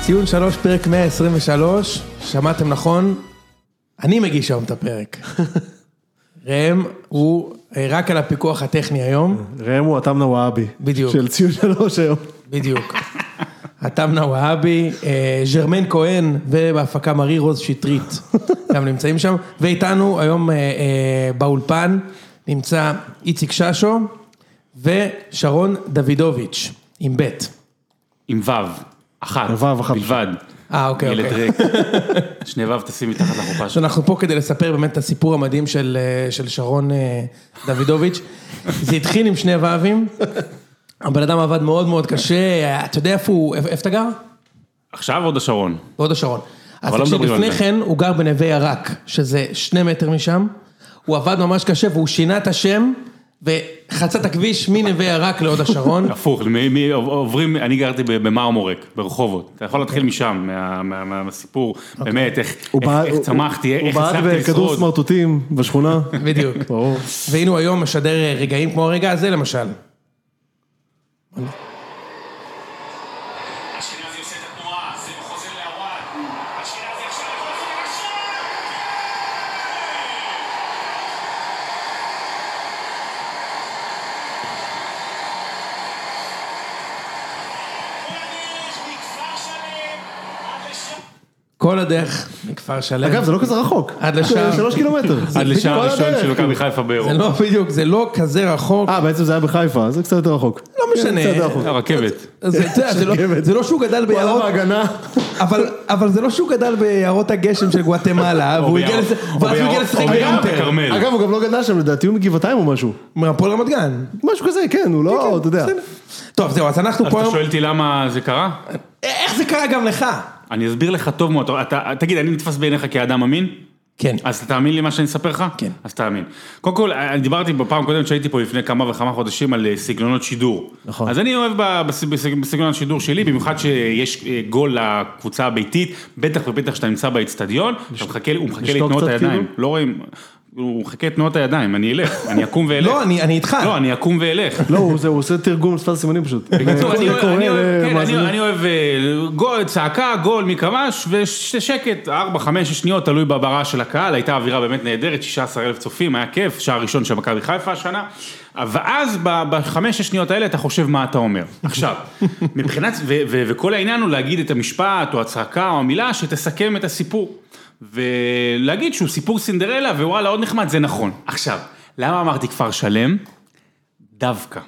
ציון שלוש, פרק 123, שמעתם נכון? אני מגיש היום את הפרק. ראם הוא אה, רק על הפיקוח הטכני היום, ראם הוא עטמנה וואבי. בדיוק. של ציון שלוש היום. בדיוק. עטמנה והאבי, אה, ז'רמן כהן, ובהפקה מרי רוז שטרית, גם נמצאים שם. ואיתנו היום אה, אה, באולפן נמצא איציק ששו ושרון דוידוביץ', עם ב'. עם וו, אחת, וו אחת. כן, בלבד. אה, אוקיי, ילד אוקיי. ריק. שני וו תשים מתחת לחופה אז שלו. אנחנו פה כדי לספר באמת את הסיפור המדהים של, אה, של שרון אה, דוידוביץ'. זה התחיל עם שני ואבים, הבן אדם עבד מאוד מאוד קשה, היה- אתה יודע איפה הוא, איפה איפה אתה גר? עכשיו עוד השרון. בהוד השרון. אז אבל לא תקשיב, מדברים על לפני זה. כן הוא גר בנווה ירק, שזה שני מטר משם, הוא עבד ממש קשה והוא שינה את השם וחצה את הכביש מנווה ירק להוד השרון. הפוך, מ- מ- עוברים, אני גרתי ב- במרמורק, ברחובות. אתה יכול להתחיל משם, מה- מה- מה- מהסיפור, באמת, איך אוקיי. הוא איך- בעט- איך הוא- צמחתי, איך הוא הצלחתי בעט בכדור לשרוד. סמרטוטים בשכונה. בדיוק. ברור. והנה הוא היום משדר אה, רגעים כמו הרגע הזה למשל. אשכנזי עושה את התנועה, זה חוזר לעוואד. אשכנזי עכשיו יכול לעשות את השער! כן! פרניש מכפר שלם, עד לשם. כל הדרך מכפר שלם. אגב, זה לא כזה רחוק. עד לשער. זה שלוש קילומטר. עד לשער כל הראשון הדרך. של מכבי חיפה זה באירופה. לא בדיוק, זה לא כזה רחוק. אה, בעצם זה היה בחיפה, זה קצת יותר רחוק. כן, לא כן, משנה. קצת יותר רחוק. אה, הרכבת. אז זה- אתה יודע, זה לא- שגבת. זה לא שהוא גדל הוא עלה ביערות, בהגנה. אבל- אבל זה לא שהוא גדל ביערות הגשם של גואטמלה, והוא הגיע ביערות- לזה, או ואז הוא הגיע ביערות- לשחק או ביערות ביונטר, בכרמל. אגב, הוא גם לא גדל שם לדעתי, הוא מגבעתיים או משהו. מהפועל רמת גן. משהו כזה, כן, הוא לא, אתה יודע. בסדר. טוב, זהו, אז אנחנו אז פה היום, אתה אה, שואל אותי למה זה קרה? איך זה קרה גם לך? אני אסביר לך טוב מאוד. אתה- אתה- תגיד, אני נתפס בעיניך כאדם אמין? כן. אז אתה תאמין לי מה שאני אספר לך? כן. אז תאמין. קודם כל, אני דיברתי בפעם הקודמת שהייתי פה לפני כמה וכמה חודשים על אה, סגנונות שידור. נכון. אז אני אוהב ב- בס- בסג- בסגנון השידור שלי, במיוחד שיש אה, גול לקבוצה הביתית, בטח ובטח שאתה נמצא באצטדיון, אתה מחכה- הוא מחכה לשתוק לתנועות קצת הידיים. כאילו? לא רואים, הוא מחכה לתנועות הידיים, אני אלך, אני אקום ואלך. לא, אני אני איתך. לא, אני אקום ואלך. לא, הוא- זה- הוא עושה תרגום לשפת הסימנים פשוט. בקיצור, אני אוהב- זה קורה אני אוהב- כן, למאזינים. אני- אני אוהב אה, גול, צעקה, גול מכבש, ושקט, 4-5 שניות, תלוי ברעש של הקהל, הייתה אווירה באמת נהדרת, 16,000 צופים, היה כיף, שער ראשון של מכבי חיפה השנה, ואז בחמש השניות האלה אתה חושב מה אתה אומר. עכשיו, מבחינת, ו- ו- וכל העניין הוא להגיד את המשפט, או הצעקה, או המילה, שתסכם את הסיפור. ולהגיד שהוא סיפור סינדרלה, ווואלה, עוד נחמד, זה נכון. עכשיו, למה אמרתי כפר שלם? דווקא.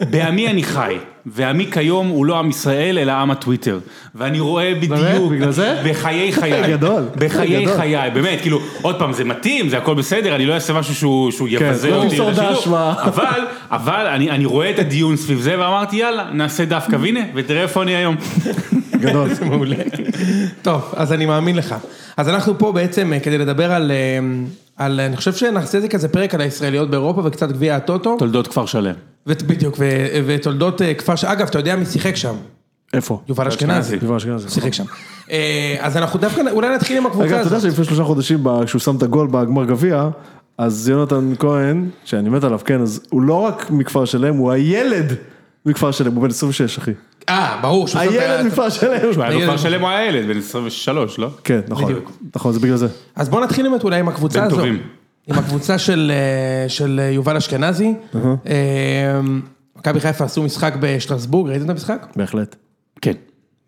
בעמי אני חי, ועמי כיום הוא לא עם ישראל, אלא עם הטוויטר. ואני רואה בדיוק, בגלל זה? בחיי חיי, גדול, בחיי גדול. חיי, באמת, כאילו, עוד פעם, זה מתאים, זה הכל בסדר, אני לא אעשה משהו שהוא, שהוא יבזה לא אותי, תמסור לשידור. דש מה- אבל, אבל אני, אני רואה את הדיון סביב זה, ואמרתי, יאללה, נעשה דווקא, והנה, ותראה איפה אני היום. גדול. זה מעולה. טוב, אז אני מאמין לך. אז אנחנו פה בעצם אה, כדי לדבר על, אה, על, אני חושב שנעשה איזה כזה פרק על הישראליות באירופה וקצת גביע הטוטו, תולדות כפר שלם. ות- בדיוק, ו- ותולדות אה, כפר, ש- אגב, אתה יודע מי שיחק שם? איפה? לא יובל אשכנזי. אשכנזי. יובל אשכנזי. שיחק שם. אה, אז אנחנו דווקא, אולי נתחיל עם אגב, הקבוצה אתה יודע הזאת. שלפני שלושה חודשים, ב- כשהוא שם את הגול בגמר גביע, אז יונתן כהן, שאני מת עליו, כן, אז הוא לא רק מכפר שלם, הוא הילד מכפר שלם, הוא בן 26, אחי. אה, ברור. שהוא שם את ה- הילד מכפר שלם. היה לו הילד- כפר שלם הוא היה ילד, בן 23, לא? כן, נכון, בדיוק. נכון, זה בגלל זה. אז בוא נתחיל באמת אולי עם הקבוצה בן הזו. טובים. עם הקבוצה של, אה, של אה, יובל אשכנזי. אה, מכבי חיפה עשו משחק בשטרסבורג, ראיתם את המשחק? בהחלט. כן.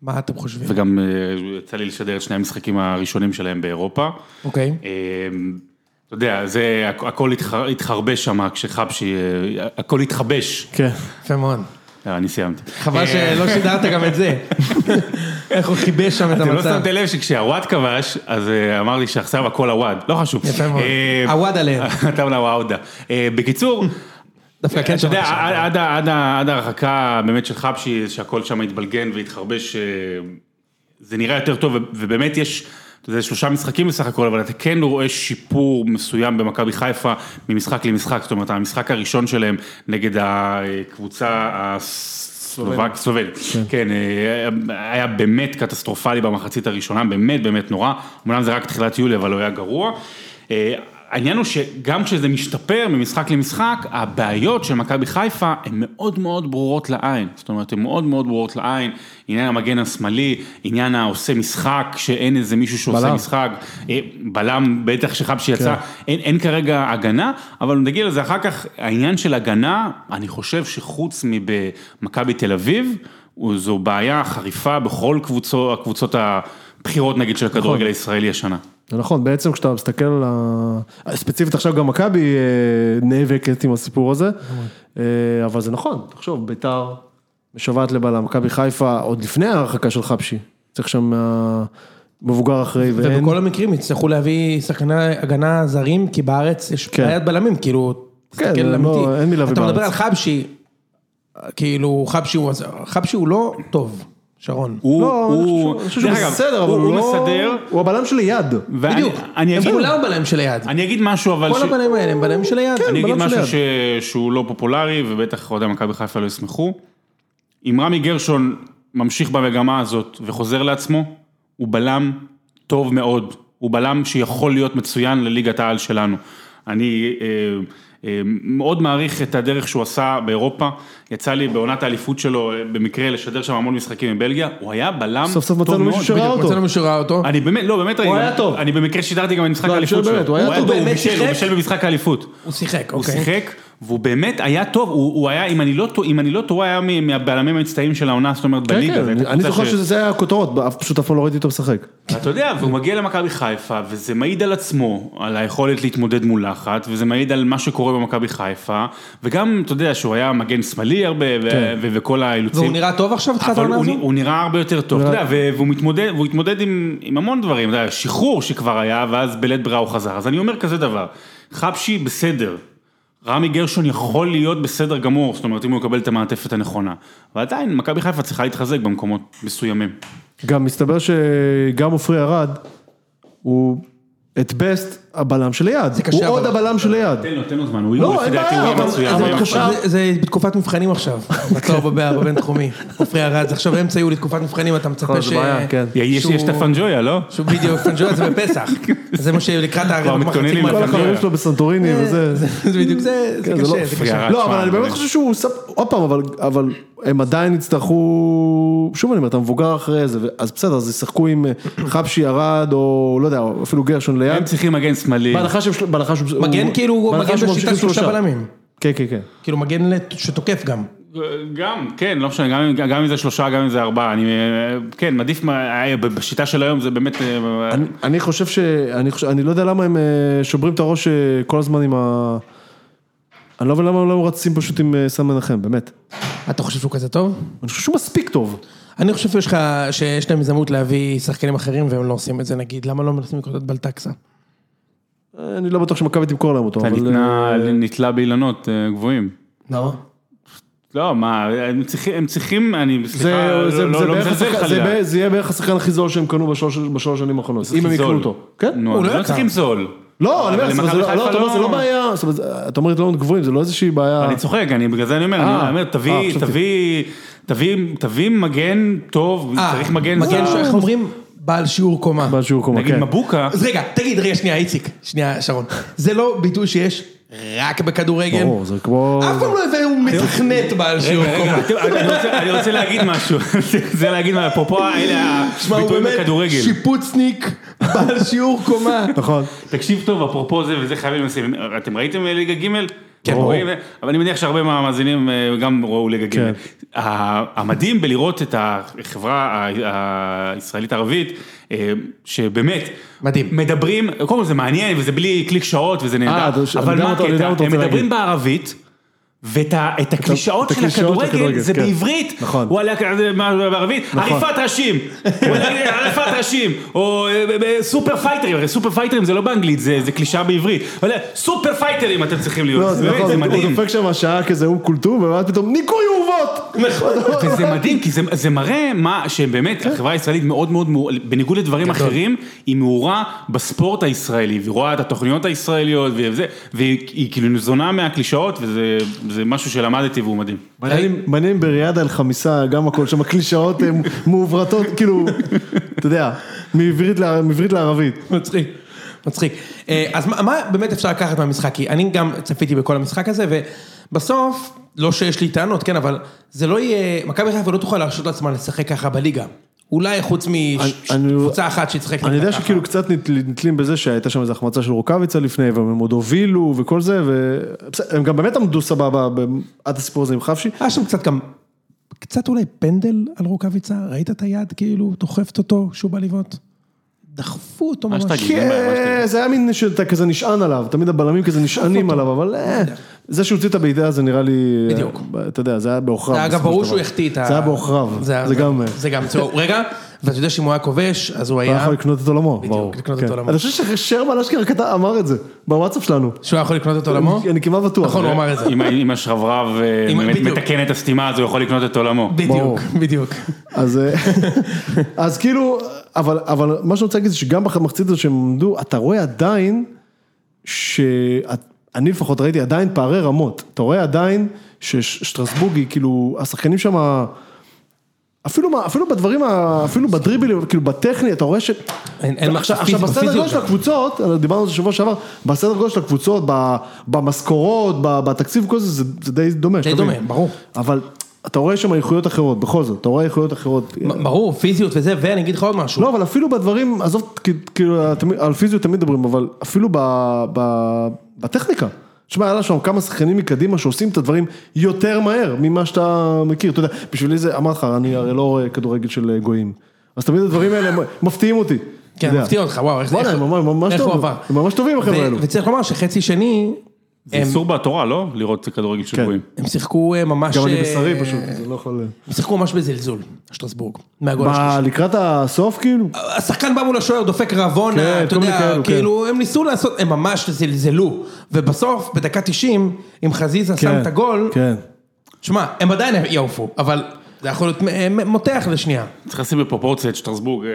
מה אתם חושבים? וגם אה, יצא לי לשדר את שני המשחקים הראשונים שלהם באירופה. אוקיי. אמ, אתה יודע, זה, הכ- הכל התח- התחרבש שם כשחבשי, אה, הכל התחבש. כן. יפה מאוד. אה, אני סיימתי. חבל שלא שידרת גם את זה. איך הוא חיבש שם את אתם לא המצב. שמתם לב שכשהוואד כבש, אז אה, אמר לי שעכשיו הכל הוואד, לא חשוב. יפה מאוד. אה, הוואד עליהם. אתה אולי וואודה. אה, בקיצור, דווקא כן אתה יודע, אה, שמעתי שם. עד- עד ה- עד ה- עד ההרחקה באמת של חבשי, שהכל שם התבלגן והתחרבש, אה, זה נראה יותר טוב, ו- ובאמת יש, זה שלושה משחקים בסך הכל, אבל אתה כן רואה שיפור מסוים במכבי חיפה ממשחק למשחק, זאת אומרת, המשחק הראשון שלהם נגד הקבוצה הסלובק, סלובנית, כן, אה, היה באמת קטסטרופלי במחצית הראשונה, באמת באמת נורא, אמנם זה רק תחילת יולי, אבל הוא היה גרוע. אה, העניין הוא שגם כשזה משתפר ממשחק למשחק, הבעיות של מכבי חיפה הן מאוד מאוד ברורות לעין. זאת אומרת, הן מאוד מאוד ברורות לעין. עניין המגן השמאלי, עניין העושה משחק, שאין איזה מישהו שעושה בלם. משחק. אה, בלם, בטח שחבשי יצא, אין, אין כרגע הגנה, אבל נגיע לזה אחר כך. העניין של הגנה, אני חושב שחוץ מבמכבי תל אביב, הוא- זו בעיה חריפה בכל קבוצות, הקבוצות הבכירות נגיד של הכדורגל הישראלי השנה. זה נכון, בעצם כשאתה מסתכל על ה... ספציפית עכשיו גם מכבי אה, נאבקת עם הסיפור הזה, אה, אבל זה נכון, תחשוב, ביתר משוועת לבלם, מכבי חיפה עוד לפני ההרחקה של חבשי, צריך שם אה, מבוגר אחרי ואין, ובכל המקרים יצטרכו להביא שחקני הגנה זרים, כי בארץ יש כן. בעיית בלמים, כאילו, כן, תסתכל לא, אמיתי. אין מי להביא אתה מדבר על בארץ. חבשי, כאילו, חבשי הוא, חבשי הוא לא טוב, שרון. הוא, לא, אני חושב שהוא- הוא, אני חושב שהוא דרך אגב, בסדר, אבל הוא, הוא הוא לא... מסדר, הוא הבלם של ליד. ואני- בדיוק, אני הם אגיד, כולם בלמים של היד. אני אגיד משהו אבל, כל ש- הבלמים האלה הם בלמים של היד. אני אגיד כן, בלם של משהו ש... שהוא לא פופולרי ובטח אוהדי מכבי חיפה לא ישמחו. אם רמי גרשון ממשיך במגמה הזאת וחוזר לעצמו, הוא בלם טוב מאוד, הוא בלם שיכול להיות מצוין לליגת העל שלנו. אני אה, אה, מאוד מעריך את הדרך שהוא עשה באירופה, יצא לי בעונת האליפות שלו אה, במקרה לשדר שם המון משחקים מבלגיה, הוא היה בלם סוף סוף טוב מצאנו מישהו מאוד. שראה בדיוק, אותו. מצאנו מישהו שראה אותו. אני באמת, לא, באמת ראיתי. היה גם- טוב. אני במקרה שידרתי גם את משחק לא, אני האליפות שואל שלו. באמת, הוא היה טוב. הוא הוא באמת בישל, הוא שיחק? בישל במשחק האליפות. הוא שיחק, הוא אוקיי. שיחק, והוא באמת היה טוב, הוא הוא היה, אם אני לא טועה, אם אני לא טועה, היה מ- מהבלמים המצטעים של העונה, זאת אומרת, כן, בליגה. כן, זו הייתה אני קבוצה זוכר ש- שזה היה הכותרות, אף- פשוט אף פעם לא ראיתי אותו משחק. אתה יודע, והוא מגיע למכבי חיפה, וזה מעיד על עצמו, על היכולת להתמודד מול לחץ, וזה מעיד על מה שקורה במכבי חיפה, וגם, אתה יודע, שהוא היה מגן שמאלי הרבה, ו- כן. ו- וכל האילוצים. והוא נראה טוב עכשיו, התחילת אבל העונה הוא, הזו? נ- הוא נראה הרבה יותר טוב, אתה יודע, ו- והוא מתמודד, והוא התמודד עם, עם המון דברים, אתה יודע, שחרור שכבר היה, ואז בלית ברירה הוא חזר. אז אני אומר כזה דבר, חבשי בסדר, רמי גרשון יכול להיות בסדר גמור, זאת אומרת, אם הוא יקבל את המעטפת הנכונה. ועדיין, מכבי חיפה צריכה להתחזק במקומות מסוימים. גם מסתבר שגם עופרי ארד, הוא את בסט הבלם של ליד. קשה, הוא עוד אבל- הבלם של ליד. תן לו, תן לו זמן, הוא לא, הוא, אין לפי דעתי, בעיה, הוא יהיה אבל- מצוין. אבל הוא זה יהיה תחושה- מצוין. בתקופה- זה- זה בתקופת מבחנים עכשיו, בצהוב בבינתחומי, עופרי ארד, זה עכשיו אמצע יולי, תקופת מבחנים, אתה מצפה נכון, ש... זה בעיה, כן. יש שהוא- יש את הפנג'ויה, לא? שהוא בדיוק, פנג'ויה זה בפסח, זה מה שלקראת כבר הרבע מתכוננים מחצית כל לפנג'ויה. מהפנג'ויה. החברים שלו בסנטוריני וזה. זה בדיוק, זה זה כן, אה, זה לא קשה, זה פרי קשה. ארד. לא, אבל שמע, אני באמת באמת. חושב שהוא, שם- עוד פעם, אבל- אבל הם עדיין יצטרכו, שוב אני אומר, אתה מבוגר אחרי זה, ו- אז בסדר, אז ישחקו עם אה, חבשי ירד, או לא יודע, או אפילו גרשון ליד. הם צריכים מגן שמאלי. בהנחה שהם, בהנחה שהוא... מגן כאילו, הוא בהנחה מגן שהוא בשיטת ממשיך עם שלושה בלמים. כן, כן, כן. כאילו מגן לת- שתוקף גם. גם, כן, לא משנה, גם, אם- גם אם זה שלושה, גם אם זה ארבעה, אני, אה, כן, עדיף, מה- אה, בשיטה של היום זה באמת, אה, אני- אני חושב ש... אני חושב- אני לא יודע למה הם אה, שוברים את הראש אה, כל הזמן עם ה... אני לא מבין למה הם לא רצים פשוט עם אה, סן מנחם, באמת. אתה חושב שהוא כזה טוב? אני חושב שהוא מספיק טוב. אני חושב שיש לך, שיש להם הזדמנות להביא שחקנים אחרים והם לא עושים את זה נגיד, למה לא מנסים לקנות את בלטקסה? אה, אני לא בטוח שמכבי תמכור להם אותו, אתה אבל... אה, נתנה, נתלה באילנות אה, גבוהים. למה? לא, מה, הם צריכים, הם צריכים אני, זה- סליחה, לא- זה- לא זה לא בערך מזלזל השחקן- זה חלילה. בערך- זה יהיה בערך השחקן הכי זול שהם קנו בשלוש בשלוש שנים האחרונות, אם הם הכי יקנו זול. אותו. כן? נו, הוא אבל לא לא יקר. צריכים זול. לא, אני אומר, אבל זאת אומרת, זה למכבי לא- לא, חיפה אתה אומר, זה לא בעיה, זאת אומרת, אתה אומר אילנות גבוהים, זה לא איזושהי בעיה. אני צוחק, אני בגלל זה אני אומר, אה, אני אומר, אה, תביא, חשבתי. תביא, תביא, תביא מגן טוב, אה. צריך מגן אה, מגן זר. ש- איך אומרים? בעל שיעור קומה. בעל שיעור קומה, נגיד כן. מבוקה, אז רגע, תגיד, רגע, שנייה, איציק, שנייה, שרון. זה לא ביטוי שיש רק בכדורגל. ברור, זה כמו... אף פעם לא הבאנו מתכנת בעל שיעור רגע, קומה. אתם- אני רוצה- אני רוצה להגיד משהו, זה להגיד, מה, אפרופו האלה שמע, הוא הביטויים באמת בכדורגל. שיפוצניק בעל שיעור קומה. נכון. תקשיב טוב, אפרופו זה וזה חייבים לשים, אתם ראיתם אה, ליגה ג'? כן, אתם ברור. רואים? אה, אבל אני מניח שהרבה מהמאזינים אה, גם ראו ליגה ג'. כן. ה- המדהים בלראות את החברה ה- הישראלית ערבית, אה, שבאמת, מדהים. מדברים, קודם כל זה מעניין וזה בלי קליק שעות וזה אה, נהדר, אתה- אני אבל גם מה אותו- אני הקטע, גם אותו הם רוצה מדברים להגיד. בערבית. ואת ה- את הקלישאות את של הקלישאות של הכדורגל הכדורגל, זה כן. בעברית, נכון. וואלכ, זה מה- בערבית, נכון. עריפת ראשים, עריפת ראשים, או אה, ב- ב- סופר פייטרים, הרי סופר פייטרים זה לא באנגלית, זה זה קלישאה בעברית, אבל אה, סופר פייטרים אתם צריכים לא, להיות, זה באמת, נכון, זה הוא- הוא מדהים, דופק שם שעה כזה אום כולתום, ואז פתאום ניקוי אורוות! וזה מדהים, כי זה- זה מראה מה שבאמת כן. החברה הישראלית מאוד מאוד, מאור- בניגוד לדברים נכון. אחרים, היא מעורה בספורט הישראלי, והיא רואה את התוכניות הישראליות, וזה, והיא היא כאילו ניזונה מהקלישאות, וזה זה משהו שלמדתי והוא מדהים. מעניין מעניין אם בריאד אל חמיסה, גם הכל שם, הקלישאות הן מעוברתות, כאילו, אתה יודע, מעברית ל- מעברית לערבית. מצחיק. מצחיק. אה, אז מה, מה באמת אפשר לקחת מהמשחק? כי אני גם צפיתי בכל המשחק הזה, ובסוף, לא שיש לי טענות, כן, אבל זה לא יהיה, מכבי חיפה לא תוכל להרשות לעצמה לשחק ככה בליגה. אולי חוץ אני- מקבוצה אחת שתשחק אני יודע ככה. שכאילו קצת נתל- נתלים בזה שהייתה שם איזו החמצה של רוקאביצה לפני, והם עוד הובילו וכל זה, והם גם באמת עמדו סבבה ב- עד הסיפור הזה עם חפשי. היה שם קצת גם, קצת אולי פנדל על רוקאביצה, ראית את היד כאילו דוחפת אותו כשהוא בא לבעוט? דחפו אותו ממש. שתגיד. אין בעיה, מה כן, זה היה מין שאתה כזה נשען עליו, תמיד הבלמים כזה נשענים עליו, אבל אה, זה שהוציא את הבעיטה הזה נראה לי, אה, בדיוק. אתה יודע, זה היה בעוכריו. זה היה גם בסופו ברור של שהוא דבר. החטיא את ה... זה היה בעוכריו, היה- זה גם, אה, זה גם צהוב. רגע, ואתה יודע שאם הוא היה כובש, אז הוא הוא היה היה... יכול לקנות את עולמו, ברור. לקנות את כן. עולמו. אני חושב ששרמן אשכרה כתב- אמר את זה, בוואטסאפ שלנו. שהוא היה יכול לקנות את עולמו? אני כמעט בטוח. נכון, הוא אמר את זה. אם- אם השרברב אה, אם- באמת בדיוק. מתקן את הסתימה אז הוא יכול לקנות את עולמו. בדיוק, ברור. בדיוק. אז, אה, אז כאילו, אבל, אבל מה שאני רוצה להגיד זה שגם במחצית הזאת שהם עמדו, אתה רואה עדיין, שאני לפחות ראיתי עדיין פערי רמות, אתה רואה עדיין ששטרסבורגי, כאילו, השחקנים שם, אפילו, מה- אפילו בדברים, ה- אפילו בדריבלים, כאילו בטכני, אתה רואה ש... אין- אין עכשיו, מחשב פיזי- עכשיו בסדר פיזיות גודל של גם. הקבוצות, דיברנו על זה שבוע שעבר, בסדר גודל של הקבוצות, ב- במשכורות, ב- בתקציב וכל זה, זה, זה די דומה. די אתה מבין? דומה, ברור. אבל אתה רואה שם איכויות אחרות, בכל זאת, אתה רואה איכויות אחרות. מ- ברור, פיזיות וזה, ואני אגיד לך עוד משהו. לא, אבל אפילו בדברים, עזוב, כ- כאילו, תמיד- על פיזיות תמיד מדברים, אבל אפילו ב, ב, בטכניקה. תשמע, היה לה שם כמה שחקנים מקדימה שעושים את הדברים יותר מהר ממה שאתה מכיר. אתה יודע, בשבילי זה, אמר לך, אני הרי לא רואה כדורגל של גויים. אז תמיד הדברים האלה מפתיעים אותי. אתה כן, יודע. מפתיע אותך, וואו, איך בואנה, איך- הם ממש איך הוא טוב. עבר. הם ממש טובים, החבר'ה ו- האלו. וצריך לומר שחצי שני, זה איסור בתורה, לא? לראות כדורגל של כן. גויים. הם שיחקו אה, ממש... גם אני אה, בשרי פשוט, זה לא יכול... הם שיחקו ממש בזלזול, שטרסבורג. מהגול השלישי. ב- לקראת הסוף, כאילו? השחקן בא מול השוער, דופק רבונה, כן, אתה כל מיני יודע, כאלו, כן. כאילו, הם ניסו לעשות, הם ממש זלזלו, ובסוף, בדקה 90, אם חזיזה שם כן, את הגול, כן. שמע, הם עדיין יעופו, אבל זה יכול להיות מ- מ- מותח לשנייה. צריך לשים בפרופורציה את שטרסבורג. אה,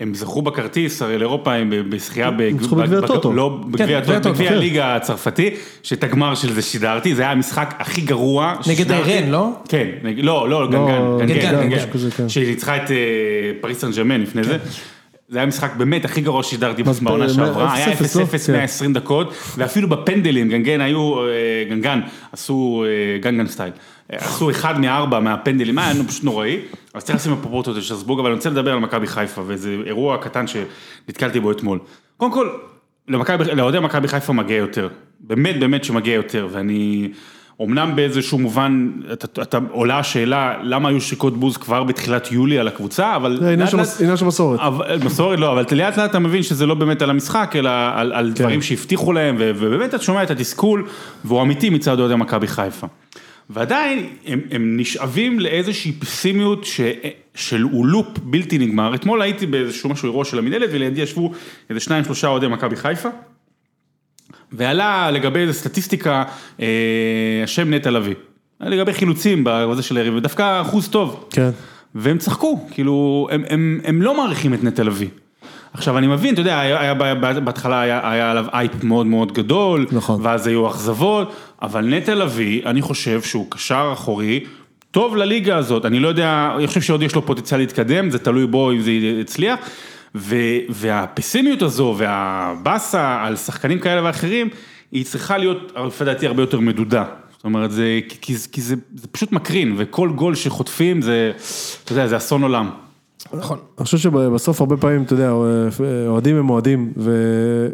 הם זכו בכרטיס הרי לאירופה הם ב- בזכייה בג- זכו בג- בגביע בג- הטוטו. לא, בגביע בגביע הטוטו, הטוטו, בגביע כן. הליגה הצרפתי, שאת הגמר של זה שידרתי, זה היה המשחק הכי גרוע. נגד ששידרתי. רן, לא? כן, נג- לא, לא, גנגן, גנגן, גנגן, משהו כזה, גנגן, כן. שהיא ניצחה את אה, פריס סן ג'רמן לפני זה. זה היה משחק באמת הכי גרוע ששידרתי מה זה, בעונה מה, שעברה, היה 0-0 0-0, כן. 120 דקות, ואפילו בפנדלים, גנגן היו, אה, גנגן, עשו אה, גנגן סטייל, אה, עשו אחד מארבע מהפנדלים, היה לנו פשוט נוראי, אז צריך לשים בפרופורציות של שטרסבורג, אבל אני רוצה לדבר על מכבי חיפה, ואיזה אירוע קטן שנתקלתי בו אתמול. קודם כל, למכבי- לאוהדי מכבי חיפה מגיע יותר, באמת באמת שמגיע יותר, ואני... אמנם באיזשהו מובן, אתה, אתה עולה השאלה למה היו שריקות בוז כבר בתחילת יולי על הקבוצה, אבל... זה עניין לאט של לאט- מס- עניין של מסורת. אבל- מסורת לא, אבל לאט לאט אתה מבין שזה לא באמת על המשחק, אלא על, על דברים שהבטיחו להם, ו- ובאמת אתה שומע את התסכול, והוא אמיתי מצד אוהדי מכבי חיפה. ועדיין הם, הם נשאבים לאיזושהי פסימיות ש, של הוא לופ בלתי נגמר. אתמול הייתי באיזשהו משהו אירוע של המינהלת, ולידי ישבו איזה שניים שלושה אוהדי מכבי חיפה. ועלה לגבי איזה סטטיסטיקה, אה, השם נטע לביא. היה לגבי חילוצים בזה של היריב, ודווקא אחוז טוב. כן. והם צחקו, כאילו, הם, הם, הם לא מעריכים את נטע לביא. עכשיו אני מבין, אתה יודע, היה, היה, בעיה- בהתחלה היה, היה עליו אייפ מאוד מאוד גדול, נכון. ואז היו אכזבות, אבל נטע לביא, אני חושב שהוא קשר אחורי, טוב לליגה הזאת, אני לא יודע, אני חושב שעוד יש לו פוטנציאל להתקדם, זה תלוי בו אם זה יצליח, ו, והפסימיות הזו והבאסה על שחקנים כאלה ואחרים, היא צריכה להיות, לפי דעתי, הרבה יותר מדודה. זאת אומרת, זה, כי, כי, זה- כי זה, זה פשוט מקרין, וכל גול שחוטפים זה, אתה יודע, זה אסון עולם. נכון. אני חושב שבסוף הרבה פעמים, אתה יודע, אוהדים הם אוהדים, ו-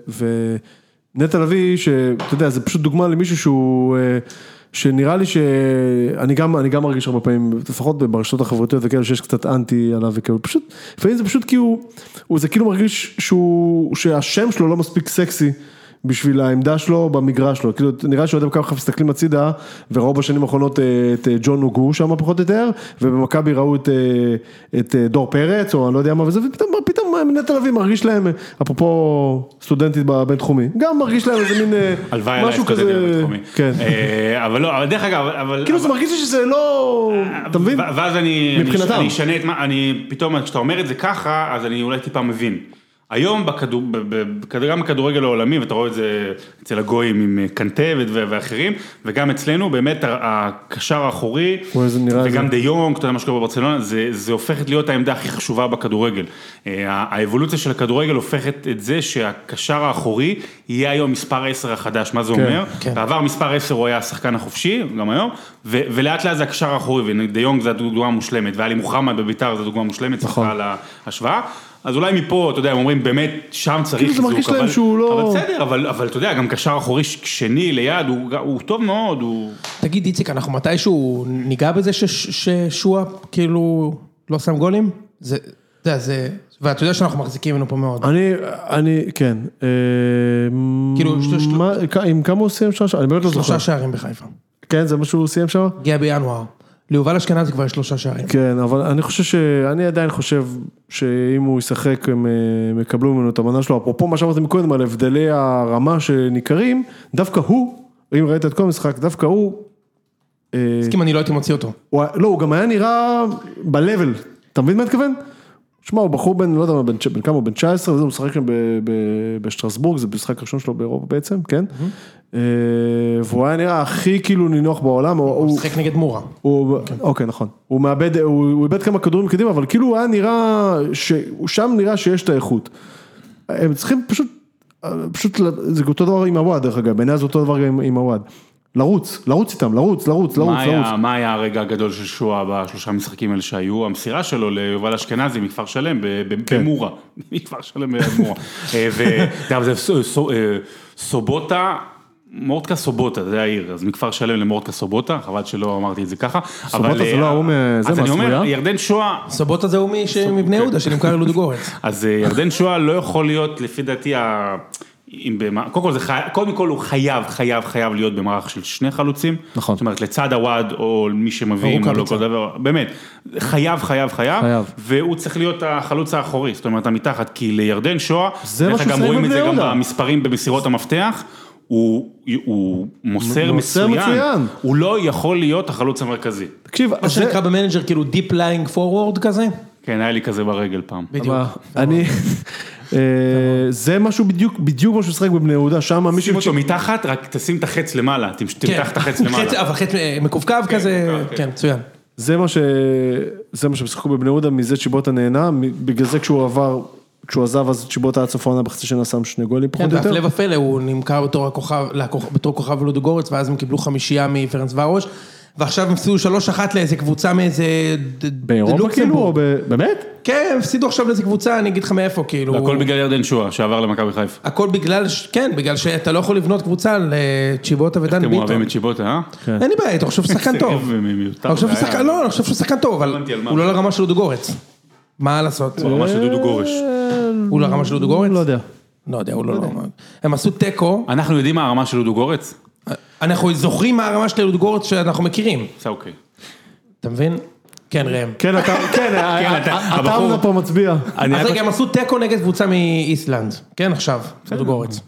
ונטע לביא, שאתה יודע, זה פשוט דוגמה למישהו שהוא, אה, שנראה לי שאני גם, אני גם מרגיש הרבה פעמים, לפחות ברשתות החברתיות וכאלה, שיש קצת אנטי עליו וכאלה, פשוט, לפעמים זה פשוט כי הוא, הוא זה כאילו מרגיש שהוא, שהשם שלו לא מספיק סקסי. בשביל העמדה שלו במגרש שלו, כאילו נראה שאוהדי מכבי חיפה מסתכלים הצידה וראו בשנים האחרונות אה, את אה, ג'ון הוגו שם פחות או יותר ובמכבי ראו את, אה, את אה, דור פרץ או אני לא יודע מה וזה ופתאום פתאום אה, נטע לביא מרגיש להם אה, אפרופו סטודנטית בבינתחומי גם מרגיש להם איזה מין אה, הלוואי עליי משהו שאתה כזה, יודע בתחומי. כן, אה, אבל לא, אבל דרך אגב, אבל... כאילו זה מרגיש לי שזה לא, אתה מבין? ו- ואז אני, מבחינתם. אני אשנה את מה, אני, פתאום כשאתה אומר את זה ככה, אז אני אולי טיפה מבין. היום בכדור, ב- ב- בכדור- גם בכדורגל העולמי, ואתה רואה את זה אצל הגויים עם אה, קנטה ו- ואחרים, וגם אצלנו, באמת ה- הקשר האחורי, וואי, זה נראה וגם איזה- דה יונג, אתה יודע מה שקורה בברצלונה, זה, זה הופכת להיות העמדה הכי חשובה בכדורגל. אה, ה- האבולוציה של הכדורגל הופכת את זה שהקשר האחורי יהיה היום מספר 10 החדש, מה זה כן, אומר? כן. בעבר מספר 10 הוא היה השחקן החופשי, גם היום, ו- ולאט לאט זה הקשר האחורי, ודה יונג זה הדוגמה המושלמת, ואלי מוחמד בביתר זה דוגמה מושלמת, נכון. סליחה על ההשוואה. אז אולי מפה, אתה יודע, הם אומרים באמת, שם צריך כאילו זה חיזוק, מרגיש להם אבל- שהוא לא- אבל בסדר, אבל אבל אתה יודע, גם קשר אחורי ש- שני ליד, הוא- הוא טוב מאוד, הוא... תגיד, איציק, אנחנו מתישהו ניגע בזה שש- ששועה כאילו לא שם גולים? זה, אתה יודע, זה, ואתה יודע שאנחנו מחזיקים ממנו פה מאוד. אני, אני, כן. אה, כאילו, שלוש- מה- כ- עם כמה הוא סיים שלושה? אני באמת לא זוכר. שלושה שערים בחיפה. כן, זה מה שהוא סיים שם? הגיע בינואר. ליובל אשכנזי כבר יש שלושה שערים. כן, אבל אני חושב ש... אני עדיין חושב שאם הוא ישחק, הם אה, יקבלו ממנו את המנה שלו. אפרופו מה שאמרתם קודם על הבדלי הרמה שניכרים, דווקא הוא, אם ראית את כל המשחק, דווקא הוא, אוקיי. מסכים, אני לא הייתי מוציא אותו. הוא היה- לא, הוא גם היה נראה ב-level, אתה מבין מה אני מתכוון? שמע, הוא בחור בן, לא יודע מה, בן, בן כמה, הוא בן 19, וזה, הוא משחק שם ב- ב- בשטרסבורג, זה המשחק הראשון שלו באירופה בעצם, כן? אה, והוא היה נראה הכי כאילו נינוח בעולם, הוא- הוא... הוא שיחק נגד מורה. הוא, אוקיי, נכון. הוא מאבד, הוא הוא איבד כמה כדורים קדימה, אבל כאילו הוא היה נראה, ש- הוא שם נראה שיש את האיכות. הם צריכים פשוט, פשוט, ל- זה אותו דבר עם הוואד, דרך אגב, בעיניי זה אותו דבר גם עם הוואד. לרוץ, לרוץ איתם, לרוץ, לרוץ, לרוץ, מה לרוץ. היה, מה היה הרגע הגדול של שואה בשלושה משחקים האלה שהיו? המסירה שלו ליובל אשכנזי מכפר שלם ב- ב- כן. במורה. מכפר שלם במורה. אה, ו- אתה יודע, זה סו- סו- אה, סובוטה. מורטקה סובוטה, זה העיר, אז מכפר שלם למורטקה סובוטה, חבל שלא אמרתי את זה ככה. סובוטה אבל, זה אה, לא ההוא מ- זה, אז אני אומר, מהסמויה? ירדן שואה, סבוטה זה הוא מי ש- מבני יהודה שנמכר ללודו גורץ. אוקיי. אז אה, ירדן שואה לא יכול להיות, לפי דעתי, ה... אם במה... קודם, כל זה חי... קודם כל הוא חייב, חייב, חייב להיות במערך של שני חלוצים. נכון. זאת אומרת, לצד הוואד או מי שמביאים, ברור, או לא חלוצה. כל דבר, באמת, חייב, חייב, חייב. חייב. והוא צריך להיות החלוץ האחורי, זאת אומרת, המתחת, כי לירדן שואה, זה מה ואתה שהוא גם עושה רואים את זה גם בבני יהודה. במספרים במסירות המפתח. הוא, הוא מוסר, מוסר מצוין. הוא לא יכול להיות החלוץ המרכזי. תקשיב, מה זה- שנקרא במנג'ר כאילו דיפ ליינג פורוורד כזה. כן, היה לי כזה ברגל פעם. בדיוק. אבל אני, אה, זה משהו בדיוק, בדיוק מה שהוא משחק בבני יהודה, שם שים מישהו, אותו מתחת, רק תשים את החץ למעלה, תמש- תמתח את החץ למעלה. אבל כן, חץ אה, מקווקו כזה, מקווקו, כן. כן, מצוין. זה מה ש... זה מה שהם שיחקו בבני יהודה, מזה צ'יבוטה נהנה, מ- בגלל זה כשהוא עבר, כשהוא עזב אז צ'יבוטה עד סוף העונה בחצי שנה שם שני גולים כן, פחות או יותר. והפלא ופלא, הוא נמכר בתור הכוכב, לכוכ- בתור כוכב לודוגורץ, ואז הם קיבלו חמישייה מפרנס ורוש, ועכשיו הם הפסידו 3-1 לאיזה קבוצה מאיזה... ד- ד- באירופה כאילו? לוקסמבורג. או ב- באמת? כן, הם הפסידו עכשיו לאיזה קבוצה, אני אגיד לך מאיפה, כאילו... הכל בגלל ירדן שואה, שעבר למכבי חיפה. הכל בגלל, ש- כן, בגלל שאתה לא יכול לבנות קבוצה לצ'יבוטה ודן אתם ביטון. אוהבים את שיבוטה, אה? אין לי בעיה, אתה חושב שהוא שחקן טוב. זה מיותר, אני חושב שהוא זה היה- שחקן, לא, אני חושב שהוא שחקן טוב, אבל הבנתי על מה. הוא לא לרמה של לודוגורץ. מה לעשות? הוא ממש דודו גורש. אה. הוא לרמה של דודו גורץ? לא יודע. לא יודע, הוא לא לרמה. הם עשו תיקו, אנחנו יודעים מה הרמה של דודו גורץ? אנחנו זוכרים מה הרמה של לודוגורץ שאנחנו מכירים. זה אוקיי. אתה מבין? כן, ראם. כן, אתה, כן, ה- אתה- ה- אתה הבחור- עמדה פה מצביע. אז רגע, הם עשו תיקו נגד קבוצה מאיסלנד. כן, עכשיו, לודוגורץ.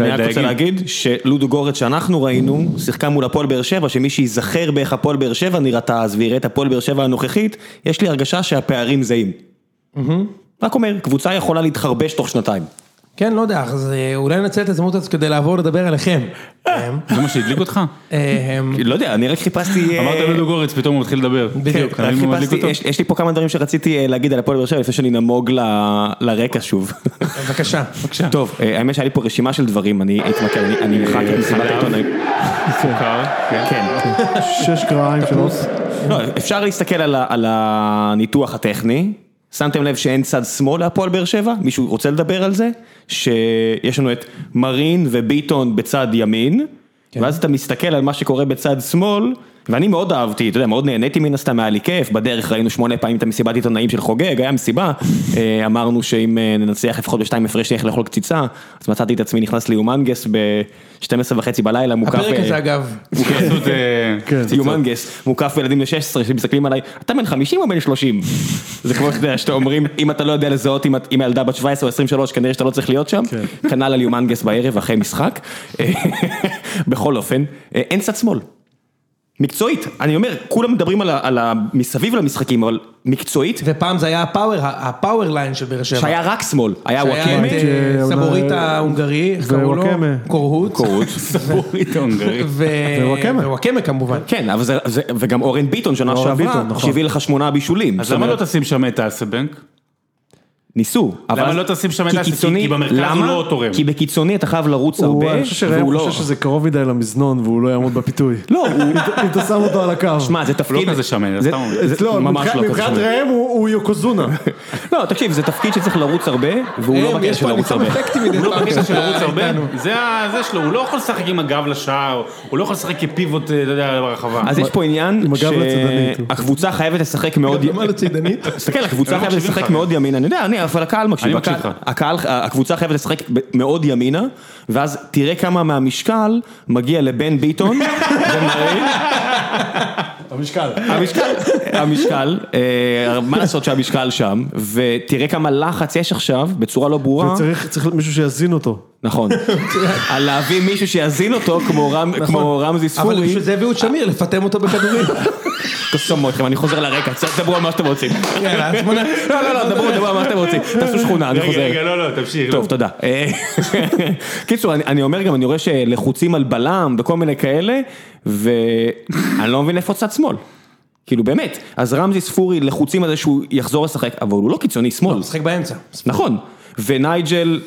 אני רק רוצה להגיד שלודו גורץ שאנחנו ראינו, שיחקה מול הפועל באר שבע, שמי שייזכר באיך הפועל באר שבע נראתה אז ויראה את הפועל באר שבע הנוכחית, יש לי הרגשה שהפערים זהים. רק אומר, קבוצה יכולה להתחרבש תוך שנתיים. כן, לא יודע, אז אה, אולי ננצל את ההזדמנות הזאת כדי לעבור לדבר עליכם. ראם. זה מה שהדליק אותך? אה, אה, לא יודע, אני רק חיפשתי... אה, כן, אמרת כן, דודו גורץ, פתאום הוא מתחיל לדבר. בדיוק. אתה רק מבין מה מדליק חיפשתי, אותו? יש- יש לי פה כמה דברים שרציתי אה, להגיד על הפועל באר שבע לפני שאני נמוג ל- לרקע שוב. בבקשה. טוב, אה, האמת שהיה לי פה רשימה של דברים, אני אתמקד, אני- אני מחק את מסיבת חלב. העיתונאים. סוכר, כן. כן. שש קרעיים שלוש. לא, אפשר להסתכל על, ה, על הניתוח הטכני. שמתם לב שאין צד שמאל להפועל באר שבע? מישהו רוצה לדבר על זה? שיש לנו את מרין וביטון בצד ימין, כן. ואז אתה מסתכל על מה שקורה בצד שמאל, ואני מאוד אהבתי, אתה יודע, מאוד נהניתי מן הסתם, היה לי כיף, בדרך ראינו שמונה פעמים את המסיבת עיתונאים של חוגג, היה מסיבה, אה, אמרנו שאם אה, ננצח לפחות בשתיים הפרש נלך לאכול קציצה, אז מצאתי את עצמי נכנס ליומנגס ב-12 וחצי בלילה, מוקף... הפרק אה, הזה אגב, הוא כאילו עשו את, אה, כן. יומנגס, מוקף בילדים ל-16 שמסתכלים עליי, אתה בן 50 או בן 30? זה כמו שאתה יודע, שאתה אומרים, אם אתה לא יודע לזהות אם את- אם הילדה בת 17 או 23, כנראה שאתה לא צריך להיות שם. כנ"ל על יומנגס בערב אחרי משחק. בכל אופן, אה, אין צד שמאל. מקצועית, אני אומר, כולם מדברים על, ה, על ה, מסביב למשחקים, אבל מקצועית, ופעם זה היה הפאוור, הפאוור ליין של באר שבע. שהיה רק שמאל, היה שהיה וואקמה, את אה, וואקמה. סבורית ההונגרי, איך קראו לו? ווואקמה. קורהוט. קורות. סבורית ההונגרי. ו- ווואקמה. ווואקמה כמובן. כן, אבל זה, זה, וגם אורן ביטון שנה אורן שעברה, ביטון, נכון. שהביא לך שמונה בישולים. אז זאת למה לא אומרת, תשים שם את אסבנק? כן. ניסו. למה לא תשים שם את כי אסי? כי- קיצוני- כי במרכז הוא למה? לא תורם. כי בקיצוני אתה חייב לרוץ הוא- הרבה, אני חושב והוא שראם לא... חושב שזה קרוב מדי למזנון והוא לא יעמוד בפיתוי. לא, הוא... אם אתה שם אותו על הקו. שמע, זה לא תפקיד... כזה שמן, זה- סתם אומר. זה לא, ממש מבחינת- לא כזה מבחינת שמן. ראם הוא הוא יוקוזונה. לא, תקשיב, זה תפקיד שצריך לרוץ הרבה, והוא לא הם, בקטע יש של פה לרוץ ניצחון הרבה. אפקטי מדי הוא לא פעם. בקטע של לרוץ הרבה, איתנו. זה ה- זה שלו, הוא לא יכול לשחק עם הגב לשער, הוא לא יכול לשחק כפיבוט, אתה יודע, ברחבה. אז יש פה עניין עם הגב לצדדית. שהקבוצה חייבת לשחק מאוד... מה לצידנית? תסתכל, הקבוצה הם לא חייבת מקשיבים לשחק לך. מאוד ימינה, אני יודע, אני, אבל הקהל מקשיב. אני מקשיב הקהל- לך. הקהל, הקבוצה חייבת לשחק ב- מאוד ימינה, ואז תראה כמה מהמשקל מגיע לבן ביטון ומרין. המשקל. המשקל, המשקל, אה, מה לעשות שהמשקל שם, ותראה כמה לחץ יש עכשיו, בצורה לא ברורה, וצריך צריך מישהו שיזין אותו. נכון, על להביא מישהו שיאזין אותו כמו רם- כמו רמזי אבל ספורי, בשביל זה הביאו את שמיר, לפטם אותו בכדורים. תסתמו אתכם, אני חוזר לרקע, דברו על מה שאתם רוצים. יאללה, כן, אז בוא נ... לא, לא, לא, דברו, דברו על מה שאתם רוצים, תעשו שכונה, אני רגע, חוזר. רגע, לא, לא, תמשיך. כאילו- טוב, תודה. אה, קיצור, אני, אני אומר גם, אני רואה שלחוצים על בלם וכל מיני כאלה, ואני לא מבין איפה צד שמאל. כאילו באמת, אז רמזי ספורי לחוצים על זה שהוא יחזור לשחק, אבל הוא לא קיצוני שמאל, הוא משחק באמצע. נכון. ונייג'ל,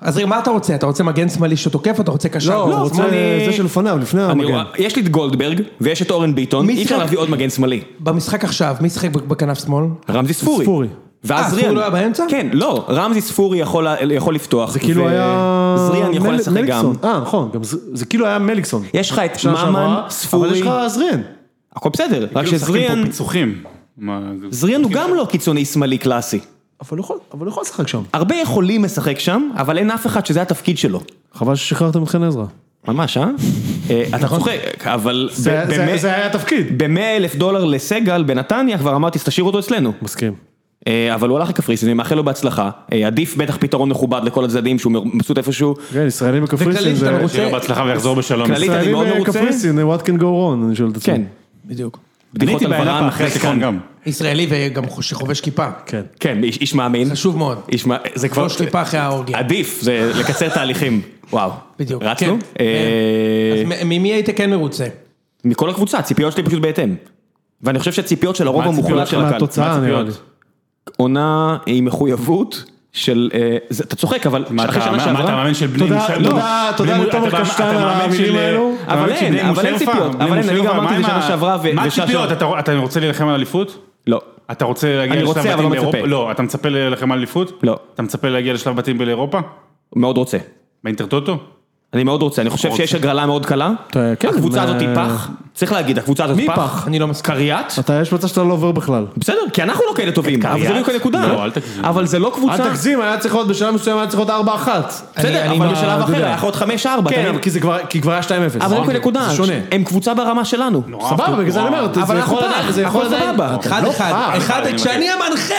אז רגע, מה אתה רוצה? אתה רוצה מגן שמאלי שתוקף או אתה רוצה קשר? לא, הוא רוצה שמאלי- זה שלפניו, לפני אני המגן. רואה, יש לי את גולדברג ויש את אורן ביטון, מי אי אפשר שיחק? להביא עוד מגן שמאלי. במשחק עכשיו, מי שיחק בכנף שמאל? רמזי ספורי. ספורי. ואז אה, זריאן. ספורי לא היה באמצע? כן, לא, רמזי ספורי יכול, יכול לפתוח. זה כאילו היה... זריאן יכול מל- לשחק גם. מליקסון. אה, נכון, גם זה- זה כאילו היה מליקסון. יש לך את שנה ממן, שעברה, אבל ספורי, יש לך זריאן. הכל בסדר, רק כאילו משחקים שזריאן, פה פיצוחים. מה, זה- זריאן אוקיי, הוא גם לא קיצוני שמאלי קלאסי. אבל הוא יכול- אבל הוא יכול לשחק שם. הרבה יכולים לשחק שם, אבל אין אף אחד שזה התפקיד שלו. חבל ששחררתם את חן עזרא. ממש, אה? אה, אתה נכון. צוחק, אבל ב- זה- זה- במאה- זה היה התפקיד. במאה אלף דולר לסגל בנתניה כבר אמרתי, אז תשאיר אותו אצלנו. מסכים. אה, אבל הוא הלך לקפריסין, אני מאחל לו בהצלחה. אה, עדיף בטח פתרון מכובד לכל הצדדים שהוא מבסוט איפשהו. כן, ישראלים בקפריסין וכללית, זה... אתה רוצה- שיהיה לו בהצלחה ויחזור בשלום. כללית, אני מאוד ישראלים מרוצה. בקפריסין, what can go wrong, אני שואל את עצמי. כן. בדיוק. אני בדיחות הייתי על ורן בעיה אחרי מחזקן. התיקון נכון. גם. ישראלי וגם חו- שחובש כיפה. כן. כן, איש איש מאמין. חשוב מאוד. איש מאמין. זה כבר... חובש כיפה אחרי האורגיה. עדיף, זה לקצר תהליכים. וואו. בדיוק, רצנו? כן. אה, אז מ- ממי היית כן מרוצה? מכל הקבוצה, הציפיות שלי פשוט בהתאם. ואני חושב שהציפיות של הרוב מה הציפיות המוחלט של הקהל. מהתוצאה מה נראה לי. הציפיות? עונה עם מחויבות של, אה, זה- אתה צוחק, אבל מה אחרי אתה שנה מה אתה שעברה, מאמן של בני תודה- מושלם? תודה- לא. תודה בני- לתומר אתה- אה, אתה קשטן על מאמן המילים של- האלו. אתה מאמן אבל של אין, בני אבל אין מושלם? ציפיות, בני אבל אין, אני מושלם, גם מה אמרתי עם את זה ה- שנה שעברה ו- מה ושנה הציפיות? שעברה. אתה- אתה רוצה להילחם על אליפות? לא, אתה רוצה להגיע אני לשלב רוצה, אבל בתים לא באירופה? מצפה. לא, אתה מצפה להילחם על אליפות? לא. אתה מצפה להגיע לשלב בתים באירופה? מאוד רוצה. באינטרטוטו? אני מאוד רוצה, אני חושב רוצה. שיש הגרלה מאוד קלה, אתה- כן, הקבוצה מה- הזאת היא פח, צריך להגיד, הקבוצה הזאת מי פח. פח? אני לא מסכים. קריית? אתה, יש מצב שאתה לא עובר בכלל. בסדר, כי אנחנו לא כאלה טובים, אבל זה קריית? בדיוק הנקודה. לא, אל תגזים. אבל זה לא קבוצה, אל תגזים, היה צריך להיות בשלב מסוים, היה צריך להיות 4-1. אני- בסדר, אני אבל מה- בשלב אתה אחר יודע. היה יכול להיות 5-4, כן, אתה אבל מבין? כי זה כבר, כי כבר היה 2-0. אבל אין פה אוקיי, נקודה, זה שונה. הם קבוצה ברמה שלנו. סבבה, בגלל זה אני אומר, זה אבל יכול אנחנו עדיין, פעם, זה יכול אנחנו עדיין. סבבה. אחד אחד, פעם. אחד, אני מבקש. כשאני המנחה!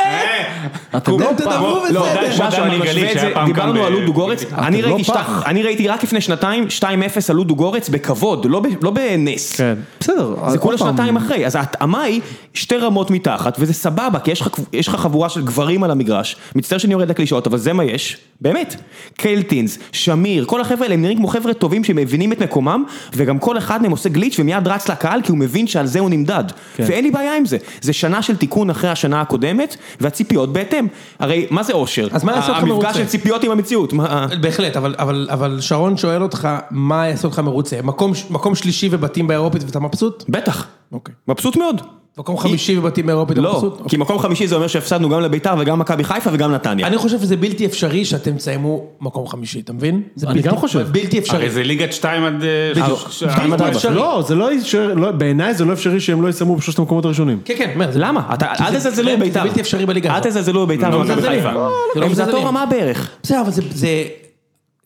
אתם לא אתם תדברו לא, די, בסדר. שם. משהו, אני ליגה משווה ליגה, את זה, שהיה פעם דיברנו גם על ב- לודו גורץ, אני לא ראיתי פעם. שת- אני ראיתי רק לפני שנתיים, 2-0 על לודו גורץ בכבוד, לא ב- לא בנס. כן. בסדר. זה עוד כולה פעם. שנתיים אחרי, אז ההתאמה היא שתי רמות מתחת, וזה סבבה, כי יש לך קב- יש לך חבורה של גברים על המגרש, מצטער שאני יורד לקלישאות, אבל זה מה יש, באמת. קלטינס, שמיר, כל החבר'ה האלה הם נראים כמו חבר'ה טובים שמבינים את מקומם, וגם כל אחד מהם עושה גליץ' ומיד רץ לקהל, כי הוא מבין שעל זה הוא נמדד. כן. ואין לי בעיה עם זה, זה שנה של תיקון אחרי השנה הקודמת, והציפיות בהתאם. הרי, מה זה אושר? אז מה יעשה אותך המפגש מרוצה? של ציפיות עם המציאות, מה... אה, בהחלט, אבל, אבל, אבל שרון שואל אותך, מה יעשה אותך מרוצה? מקום, מקום שלישי ובתים באירופית ואתה מבסוט? בטח, אוקיי. מבסוט מאוד. מקום חמישי ובתים באירופית אתה לא, מבסוט? אוקיי. כי מקום חמישי זה אומר שהפסדנו גם לביתר וגם מכבי חיפה וגם נתניה. אני חושב שזה בלתי אפשרי שאתם תסיימו מקום חמישי, אתה מבין? זה בלתי- גם חושב. בלתי אפשרי. הרי זה ליגת 2 עד... אה, בדיוק. ש- עד שתיים עד ארבע. אפשרי. לא, זה לא אפשרי, לא- בעיניי זה לא אפשרי שהם לא יסיימו בשלושת המקומות הראשונים. כן, כן, אומר, זה- למה? אתה- כי אל זה- תזלזלו זה בביתר. בלתי אפשרי בליגה אל הזאת. תזלזלו בביתר לא ומכבי מזלזלים. חיפה. לא, לא הם זה אותו מזלזלים. רמה בערך. בסדר, אבל זה, זה,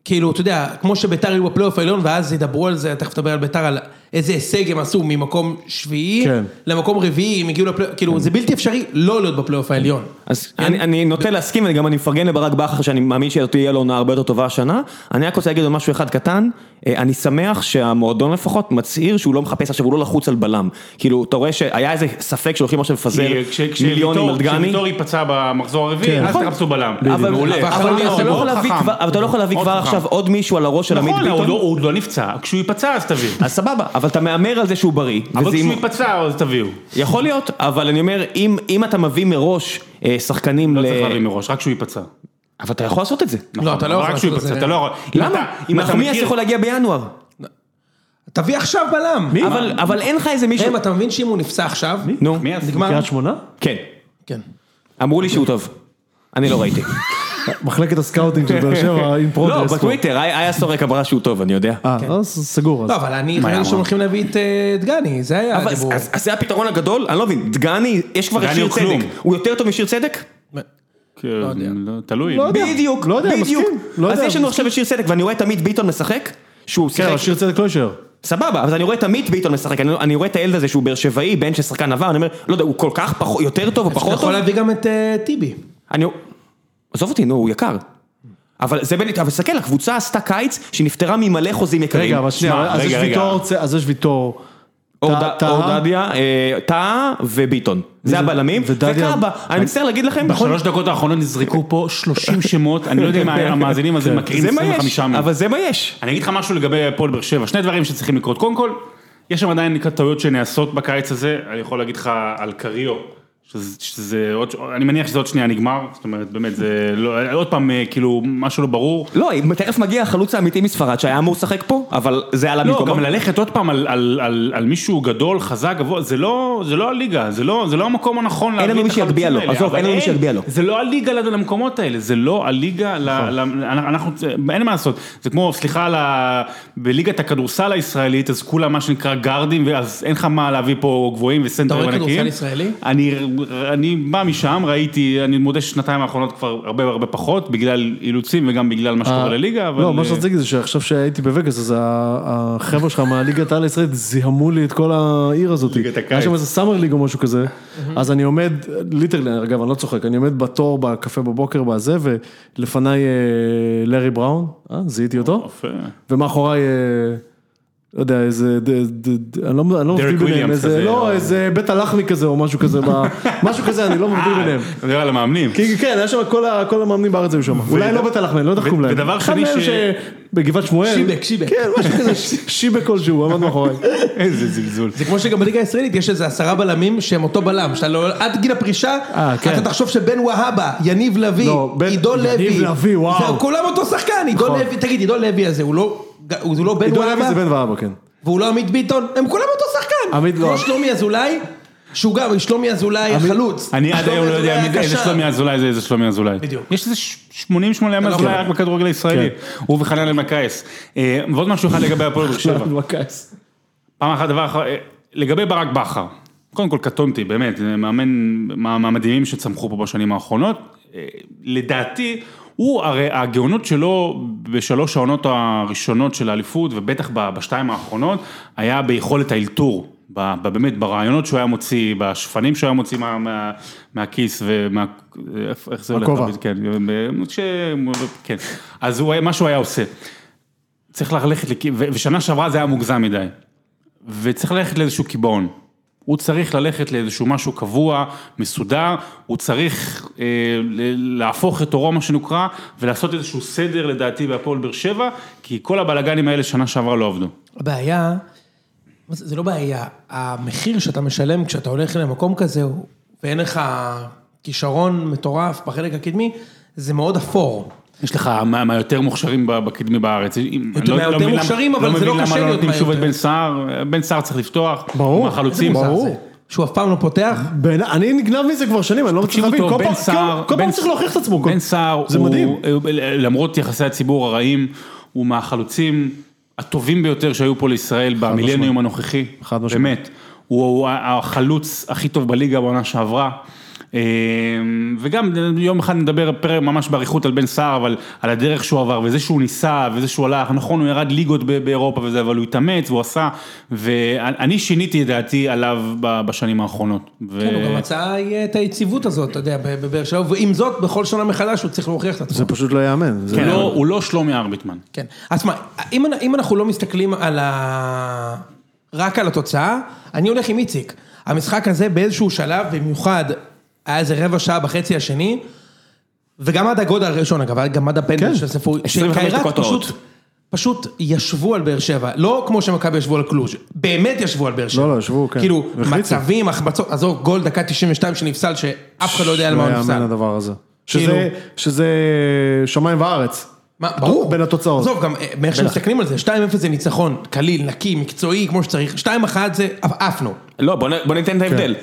כאילו, אתה יודע, כמו שביתר היו בפלייאוף העליון, ואז ידברו על זה, תכף נדבר על ביתר, על איזה הישג הם עשו ממקום שביעי כן. למקום רביעי, הם הגיעו לפלייאוף, כאילו זה בלתי אפשרי לא להיות בפלייאוף העליון. כן. אז אני, אני נוטה להסכים, וגם אני מפרגן לברק בכר, שאני מאמין שתהיה לו עונה הרבה יותר טובה השנה. אני רק רוצה להגיד עוד משהו אחד קטן, אה, אני שמח שהמועדון לפחות מצהיר שהוא לא מחפש עכשיו, הוא לא לחוץ על בלם. כאילו, אתה רואה שהיה איזה ספק שהולכים עכשיו לפזר אה, כש- כש- מיליונים כשוויטור- על דגני. כשוויטור ייפצע במחזור הרביעי, כן. אז נכון. תחפשו בלם. אבל מעולה. אבל- אבל אבל אתה לא מאוד יכול להביא חכם. כבר- אבל אתה לא יכול להביא מאוד כבר חכם. עכשיו עוד מישהו על הראש של עמית נכון, הוא לא- ביטון. הוא עוד לא נפצע, כשהוא ייפצע אז תביאו. אז סבבה, אבל אתה מהמר על זה שהוא בריא. אבל אה, וזה כשהוא עם- ייפצע אז תביאו. יכול להיות, אבל אני אומר, אם, אם אתה מביא מראש אה, שחקנים לא ל... צריך להביא מראש, רק כשהוא ייפצע. אבל אתה יכול לעשות את זה. לא, אתה לא נכון, יכול רק כשהוא לעשות את ייפצע, זה. אתה לא יכול. אם למה? אתה- אם אתה נחמיאס מכיר- יכול להגיע בינואר. תביא עכשיו בלם. אבל, אבל אין לך איזה מישהו... ראם, אתה מבין שאם הוא נפצע עכשיו, נו, נחמיאס? נגמר? קריית שמונה? כן. כן. אמרו לי שהוא טוב. אני לא ראיתי. מחלקת הסקאוטינג של באר שבע עם לא, פרוגרס. בטוויטר, היה היה סורק אמרה שהוא טוב, אני יודע. אה, אז סגור. אז. לא, אבל אני חושב שהם הולכים להביא את אה, דגני, זה היה אבל אז- הדיבור. אז אז זה הפתרון הגדול? אני לא מבין, דגני, יש כבר את דגני שיר הוא כלום. צדק. הוא יותר טוב משיר צדק? כן, לא, תלוי. לא יודע. בדיוק, לא יודע, בדיוק. מסכים. לא אז יודע, יש לנו עכשיו את שיר צדק, ואני רואה את עמית ביטון משחק, שהוא כן, אבל שיחק שיר צדק לא יישאר. סבבה, אז אני רואה את עמית ביטון משחק, אני, אני רואה את הילד הזה שהוא באר שבעי, בן של שחקן עבר, אני אומר, לא יודע, הוא כל כך פחות, יותר טוב או אתה פחות טוב? יכול להביא גם את אה, טיבי. אני... עזוב אותי, נו, הוא יקר. אבל זה בין... אבל תסתכל, הקבוצה עשתה קיץ שנפטרה ממלא חוזים יקרים. רגע, אבל שנייה, שמע, אז יש רגע, רגע. ויטור, צ- אז יש ויטור. טאה- אורדדיה, טאה. אורדדיה, אה, טאה וביטון. זה הבלמים, ודדיה- וקאבה. אני מצטער להגיד לכם, נכון? בשלוש דקות האחרונות נזרקו פה 30 שמות, אני לא יודע אם המאזינים הזה מכירים זה מה 25 יש, מהם. אבל זה מה יש. אני אגיד לך משהו לגבי הפועל באר שבע, שני דברים שצריכים לקרות. קודם כל, יש שם עדיין טעויות שנעשות בקיץ הזה, אני יכול להגיד לך על קריו, שזה, שזה עוד, אני מניח שזה עוד שנייה נגמר, זאת אומרת, באמת, זה לא, עוד פעם, אה, כאילו, משהו לא ברור. לא, תכף מגיע החלוץ האמיתי מספרד שהיה אמור לשחק פה, אבל זה עלה לא, במקומו. גם ללכת עוד פעם על, על, על, על מישהו גדול, חזק, גבוה, זה לא, זה לא הליגה, זה לא, זה לא המקום הנכון להביא את לנו מי החלוצים שיגביה לו, האלה. עזוב, אבל אין לנו מי שיגביה לו. נכון. זה לא הליגה לד- למקומות האלה, זה לא הליגה, ל, ל, אנחנו, אין מה לעשות, זה כמו, סליחה, על ה- בליגת הכדורסל הישראלית, אז כולם מה שנקרא גארדים, ואז אין לך מה להביא פה גבוהים וסנטרים אתה רואה ענקיים. כדורסל ישראלי? אני, אני בא משם, ראיתי, אני מודה ששנתיים האחרונות כבר הרבה הרבה פחות, בגלל אילוצים וגם בגלל מה שקורה לליגה, אבל... לא, מה אה, שרציתי להגיד זה שעכשיו שהייתי בווגאס, אז ה- החבר'ה שלך מהליגת העל הישראלית זיהמו לי את כל העיר הזאת. ליגת הקיץ. היה שם איזה סאמר ליג או משהו כזה, אז אני עומד, ליטרלי, אגב, אני לא צוחק, אני עומד בתור בקפה בבוקר בזה, ולפניי אה, לארי בראון, אה, זיהיתי אותו, יפה. ומאחוריי, אה, לא יודע, איזה, ד- ד- ד- אני לא אני לא מבדיל ביניהם, וויליאמס איזה, כזה, או- לא, איזה בית הלחמי כזה או משהו כזה, ב- משהו כזה, אני לא מבדיל ביניהם. אתה אה, מדבר על המאמנים. כי כן, היה שם כל ה- כל המאמנים בארץ היו שם. אולי לא בטלחמן, לא יודע איך ו- קוראים להם. ודבר אחד שני מהם ש- בגבעת שמואל. שיבק, שיבק. כן, משהו כזה, ש- שיבק כלשהו, הוא עמד מאחורי. איזה זלזול. זה כמו שגם בליגה הישראלית יש איזה עשרה בלמים שהם אותו בלם, שאתה לא, עד גיל הפרישה, אה, כן. אתה תחשוב שבן והבה, יניב לביא, לא, בן- עידו יניב לוי, לביא, וואו. זה כולם אותו שחקן, עידו נכון. לוי, תגיד, עידו לוי הזה, הוא לא, הוא לא בן עידו לוי זה והבה, בן ואבא, כן. והוא לא עמית ביטון, הם כולם אותו שחקן, עמית לא. כמו שלומי אזולאי, שהוא גם, שלומי אזולאי החלוץ, אני עד שלומי היום לא יודע אזולאי מי- איזה הקשר. שלומי אזולאי זה איזה שלומי אזולאי. בדיוק. יש איזה ש- 88 ימי אזולאי רק בכדורגל הישראלי. כן. הוא וחנן אלמקייס. אה, ועוד משהו אחד לגבי הפועל באר שבע. מכעס. פעם אחת דבר אחר, אה, לגבי ברק בכר, קודם כל קטונתי, באמת, זה מאמן מה- מהמדהימים שצמחו פה בשנים האחרונות. אה, לדעתי, הוא, הרי הגאונות שלו בשלוש העונות הראשונות של האליפות, ובטח ב- בשתיים האחרונות, היה ביכולת האלתור. ב- ב- באמת, ברעיונות שהוא היה מוציא, בשפנים שהוא היה מוציא מה- מה- מהכיס ומה... איך- איך זה הולך? הכובע. כן, ב- ש... כן. אז הוא, היה- מה שהוא היה עושה. צריך ללכת, לכ- ו- ושנה שעברה זה היה מוגזם מדי. וצריך ללכת לאיזשהו קיבעון. הוא צריך ללכת לאיזשהו משהו קבוע, מסודר, הוא צריך אה, ל- להפוך את עורו, מה שנקרא, ולעשות איזשהו סדר לדעתי בהפועל באר שבע, כי כל הבלגנים האלה שנה שעברה לא עבדו. הבעיה, מה זה זה לא בעיה, המחיר שאתה משלם כשאתה הולך למקום כזה, הוא- ואין לך כישרון מטורף בחלק הקדמי, זה מאוד אפור. יש לך מה- מהיותר מוכשרים ב- בקדמי בארץ. אם- אני לא- מהיותר לא מבין למה- מוכשרים, אבל זה לא קשה לא מבין למה לא להיות נותנים שוב את מהיותר. בן סער, בן סער צריך לפתוח. ברור. עם החלוצים. איזה אה. ברור. זה, שהוא אף פעם לא פותח, בעיני- אני נגנב מזה כבר שנים, אני לא מצליח תקשיבו להבין. טוב, כל פעם- בן סער, כל- כל בן- פעם צריך להוכיח את עצמו. כל- בן סער, זה הוא- מדהים. למרות יחסי הציבור הרעים, הוא מהחלוצים הטובים ביותר שהיו פה לישראל במילניום הנוכחי. חד משמעית. באמת. הוא הוא החלוץ הכי טוב בליגה בעונה שעברה. אה, וגם יום אחד נדבר פרק ממש באריכות על בן סער, אבל על הדרך שהוא עבר, וזה שהוא ניסה, וזה שהוא הלך, נכון, הוא ירד ליגות ב- באירופה וזה, אבל הוא התאמץ, והוא עשה, ואני שיניתי את דעתי עליו ב- בשנים האחרונות. ו- כן, הוא גם מצא אה, את היציבות הזאת, אתה יודע, ב- בבאר שבע, ועם זאת, בכל שנה מחדש הוא צריך להוכיח את עצמו. זה פשוט לא ייאמן. זה- הוא לא- הוא לא שלומי ארביטמן. כן. אז מה, אם, אנ- אם אנחנו לא מסתכלים על ה... רק על התוצאה, אני הולך עם איציק. המשחק הזה באיזשהו שלב, במיוחד, היה איזה רבע שעה בחצי השני, וגם עד הגול הראשון, אגב, גם עד הפנדל כן. של ספורי, 25 שקיירת דקות פשוט, רעות. פשוט ישבו על באר שבע, לא כמו שמכבי ישבו על קלוז', באמת ישבו על באר שבע. לא, ישבו, כן. כאילו, החליצו. מצבים, החמצות, עזוב, גול דקה 92 שנפסל, שאף אחד לא יודע על מה לא הוא ייאמן נפסל. הדבר הזה. כאילו- שזה- שזה שמיים וארץ. מה, ברור. בין התוצאות. עזוב, גם אה, מאיך שמסתכלים על זה, 2-0 זה ניצחון, קליל, נקי, מקצועי, כמו שצריך, 2-1 זה עפ- אה, עפנו. לא, בוא נ- בוא ניתן את ההבדל.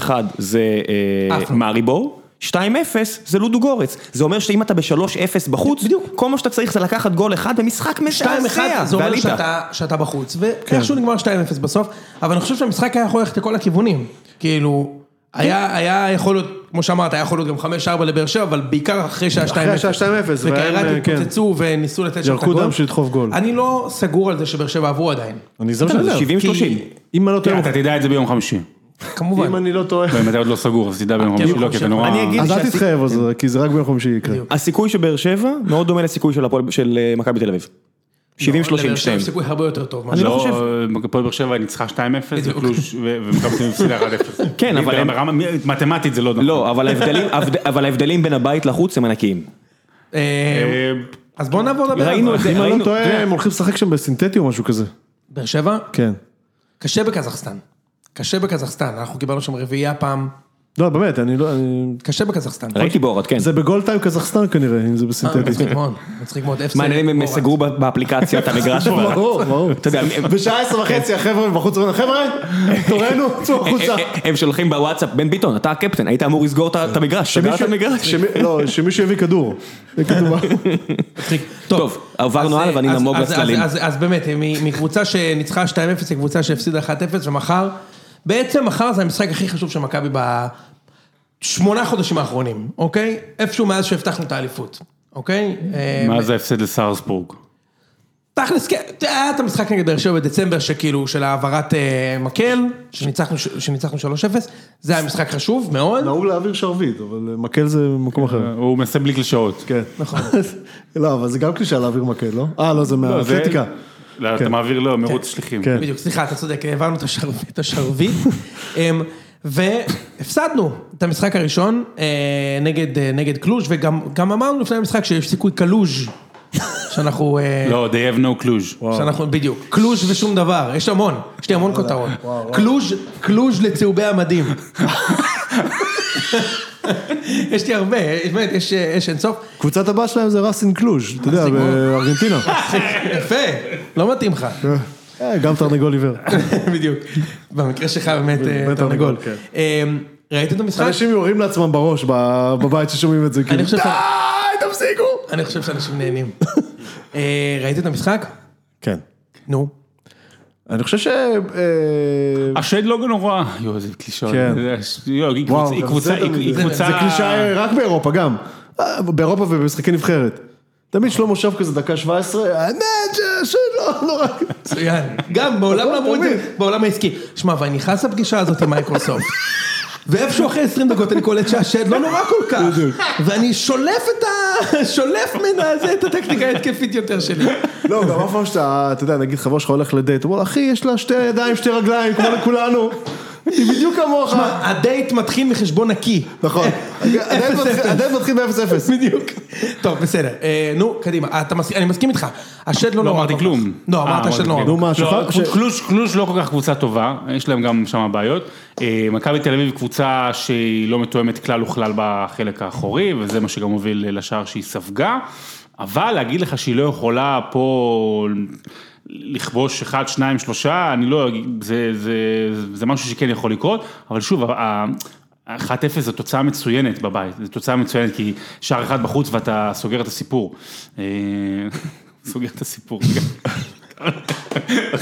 2-1 זה אה, עפנו. מאריבור. 2-0 זה לודו גורץ, זה אומר שאם אתה ב-3-0 בחוץ, בדיוק. כל מה שאתה צריך זה לקחת גול אחד במשחק 2-1 מזעזע, זה אומר ועלית. שאתה, שאתה בחוץ, כן. ואיכשהו נגמר 2-0 בסוף, אבל אני חושב שהמשחק היה יכול ללכת לכל הכיוונים. כאילו, כן. היה, היה יכול להיות, כמו שאמרת, היה יכול להיות גם 5-4 לבאר שבע, אבל בעיקר אחרי שהיה 2-0. אחרי השעה 2-0, והם, וקיירת אה, כן. התפוצצו וניסו לתת שם את ירקו הגול. דם שדחוף גול. אני לא סגור על זה שבאר שבע עברו עדיין. אני זה מה כן, שאני זה אומר. 70-30. כי אם אני לא טועה, כן, אתה תדע את זה ביום חמישי. כמובן. אם אני לא טועה, באמת, אתה עוד לא סגור, אז תדע ביום חמישי, לא, כי אתה נורא... אני אגיד אז אל שהסיכוי- תתחייב על זה, כי זה רק ביום חמישי יקרה. הסיכוי של באר שבע מאוד דומה לסיכוי של הפועל- של אה, מכבי תל אביב. 70-30 לבאר שבע שתיהם. יש סיכוי הרבה יותר טוב. אני לא חושב. אוקיי. הפועל באר שבע ניצחה 2-0, וקלוש- ו- ומכבי תל אביב הפסידה 1-0. כן, אבל הם- ברמה- מ- מתמטית זה לא נכון. לא, אבל ההבדלים- ההבד- אבל ההבדלים בין הבית לחוץ הם ענקיים. אה, אה, אז בואו נעבור לדבר. ראינו אבל. את זה, אם אני ראינו... לא טועה, הם הולכים לשחק שם בסינתטי או משהו כזה. באר שבע? כן. קשה בקזחסטן. קשה בקזחסטן, אנחנו קיבלנו שם רביעייה פעם. לא, באמת, אני לא... אני- קשה בקזחסטן. אה, ראיתי בורד, כן. זה בגול טיים קזחסטן כנראה, אם זה בסינתטי. מצחיק מאוד, מצחיק מאוד. אה, אוקיי. FC מעניין אם הם בורד. סגרו ב- באפליקציה את המגרש. כבר. ברור, ברור. אתה יודע, הם- בשעה עשר וחצי החבר'ה בחוץ אומרים, חבר'ה, תורנו, צאו החוצה. הם- הם שולחים בוואטסאפ, בן ביטון, אתה הקפטן, היית אמור לסגור את ה- את המגרש, סגרת את המגרש. שמי- לא, שמישהו יביא כדור. זה כתוב ב- מצחיק. טוב, עברנו אז, הלאה ואני אז- נמוג אז- לצללים. אז- אז- אז באמת, מ- מקבוצה שניצחה 2-0 לקבוצה שהפסידה 1-0, ומחר, בעצם מחר זה המשחק הכי חשוב של מכבי בשמונה חודשים האחרונים, אוקיי? איפשהו מאז שהבטחנו את האליפות, אוקיי? אה, מאז ההפסד לסארסבורג. תכלס, כן, היה את המשחק נגד באר שבע בדצמבר, שכאילו, של העברת אה, מקל, שניצחנו ש- שניצחנו 3-0, זה היה משחק חשוב מאוד. נהוג להעביר שרביט, אבל אה, מקל זה במקום אחר. הוא מנסה בלי קלישאות. כן. נכון. לא, אבל זה גם קלישה להעביר מקל, לא? אה, לא, זה לא, זה- מהאתלטיקה. לא, אתה מעביר לו מרוץ שליחים. כן. בדיוק, סליחה, אתה צודק, העברנו את השרביט, את השרביט, אמ, והפסדנו את המשחק הראשון אה, נגד, אה, נגד קלוז' וגם גם אמרנו לפני המשחק שיש סיכוי קלוז' שאנחנו, אה, לא, they have no cluj. שאנחנו, בדיוק, קלוז' ושום דבר, יש המון, יש לי לא המון כותרות, קלוז', קלוז' לצהובי המדים. יש לי הרבה, יש- באמת, יש, אה, יש אינסוף, קבוצת הבא שלהם זה ראסין קלוז', אתה יודע, ראסין קלוז'. בארגנטינה. יפה, לא מתאים לך. אה, גם תרנגול עיוור. בדיוק, במקרה שלך באמת אה, באמת תרנגול. תרנגול, כן. אמ, ראית את המשחק? אנשים יורים לעצמם בראש ב- בבית ששומעים את זה, כאילו, אני חושב ש- די, תפסיקו! אני חושב שאנשים נהנים. אה, ראית את המשחק? כן. נו. אני חושב ש... אה, השד לא נורא. יואו, איזה קלישאות. כן. זה- יואו, היא וואו, קבוצה- היא גם קבוצה... זה תמיד- היא זה- קבוצה... זה קלישאה רק באירופה גם. אה, באירופה ובמשחקי נבחרת. תמיד שלמה שב כזה דקה 17, האמת ש... שלא, לא רק... מצוין. גם בעולם לא אמרו את זה, בעולם העסקי. שמע, ואני נכנס לפגישה הזאת עם מייקרוסופט. ואיפשהו אחרי 20 דקות אני קולט שהשד לא נורא כל כך. ואני שולף את ה... שולף מן הזה את הטקטיקה ההתקפית יותר שלי. לא, גם אף פעם שאתה, אתה יודע, נגיד חבר שלך הולך לדייט, הוא אומר, אחי, יש לה שתי ידיים, שתי רגליים, כמו לכולנו. היא בדיוק כמוך. הדייט מתחיל מחשבון נקי. נכון. הדייט מתחיל- הדייט מתחיל ב-0-0. בדיוק. טוב, בסדר. אה, נו, קדימה. אתה מסכים- אני מסכים איתך. השד לא נורא. לא אמרתי כל כך. כלום. לא, אה, אמרת השד נורא. כלום. נו, מה, שפר- לא, ש- קלוש- קלוש לא כל כך קבוצה טובה, יש להם גם שם בעיות. אה, מכבי תל אביב קבוצה שהיא לא מתואמת כלל וכלל בחלק האחורי, וזה מה שגם הוביל לשער שהיא ספגה. אבל להגיד לך שהיא לא יכולה פה לכבוש אחד, שניים, שלושה, אני לא, זה, זה, זה משהו שכן יכול לקרות, אבל שוב, ה- 1-0 זו תוצאה מצוינת בבית, זו תוצאה מצוינת כי שער אחד בחוץ ואתה סוגר את הסיפור. אה, סוגר את הסיפור.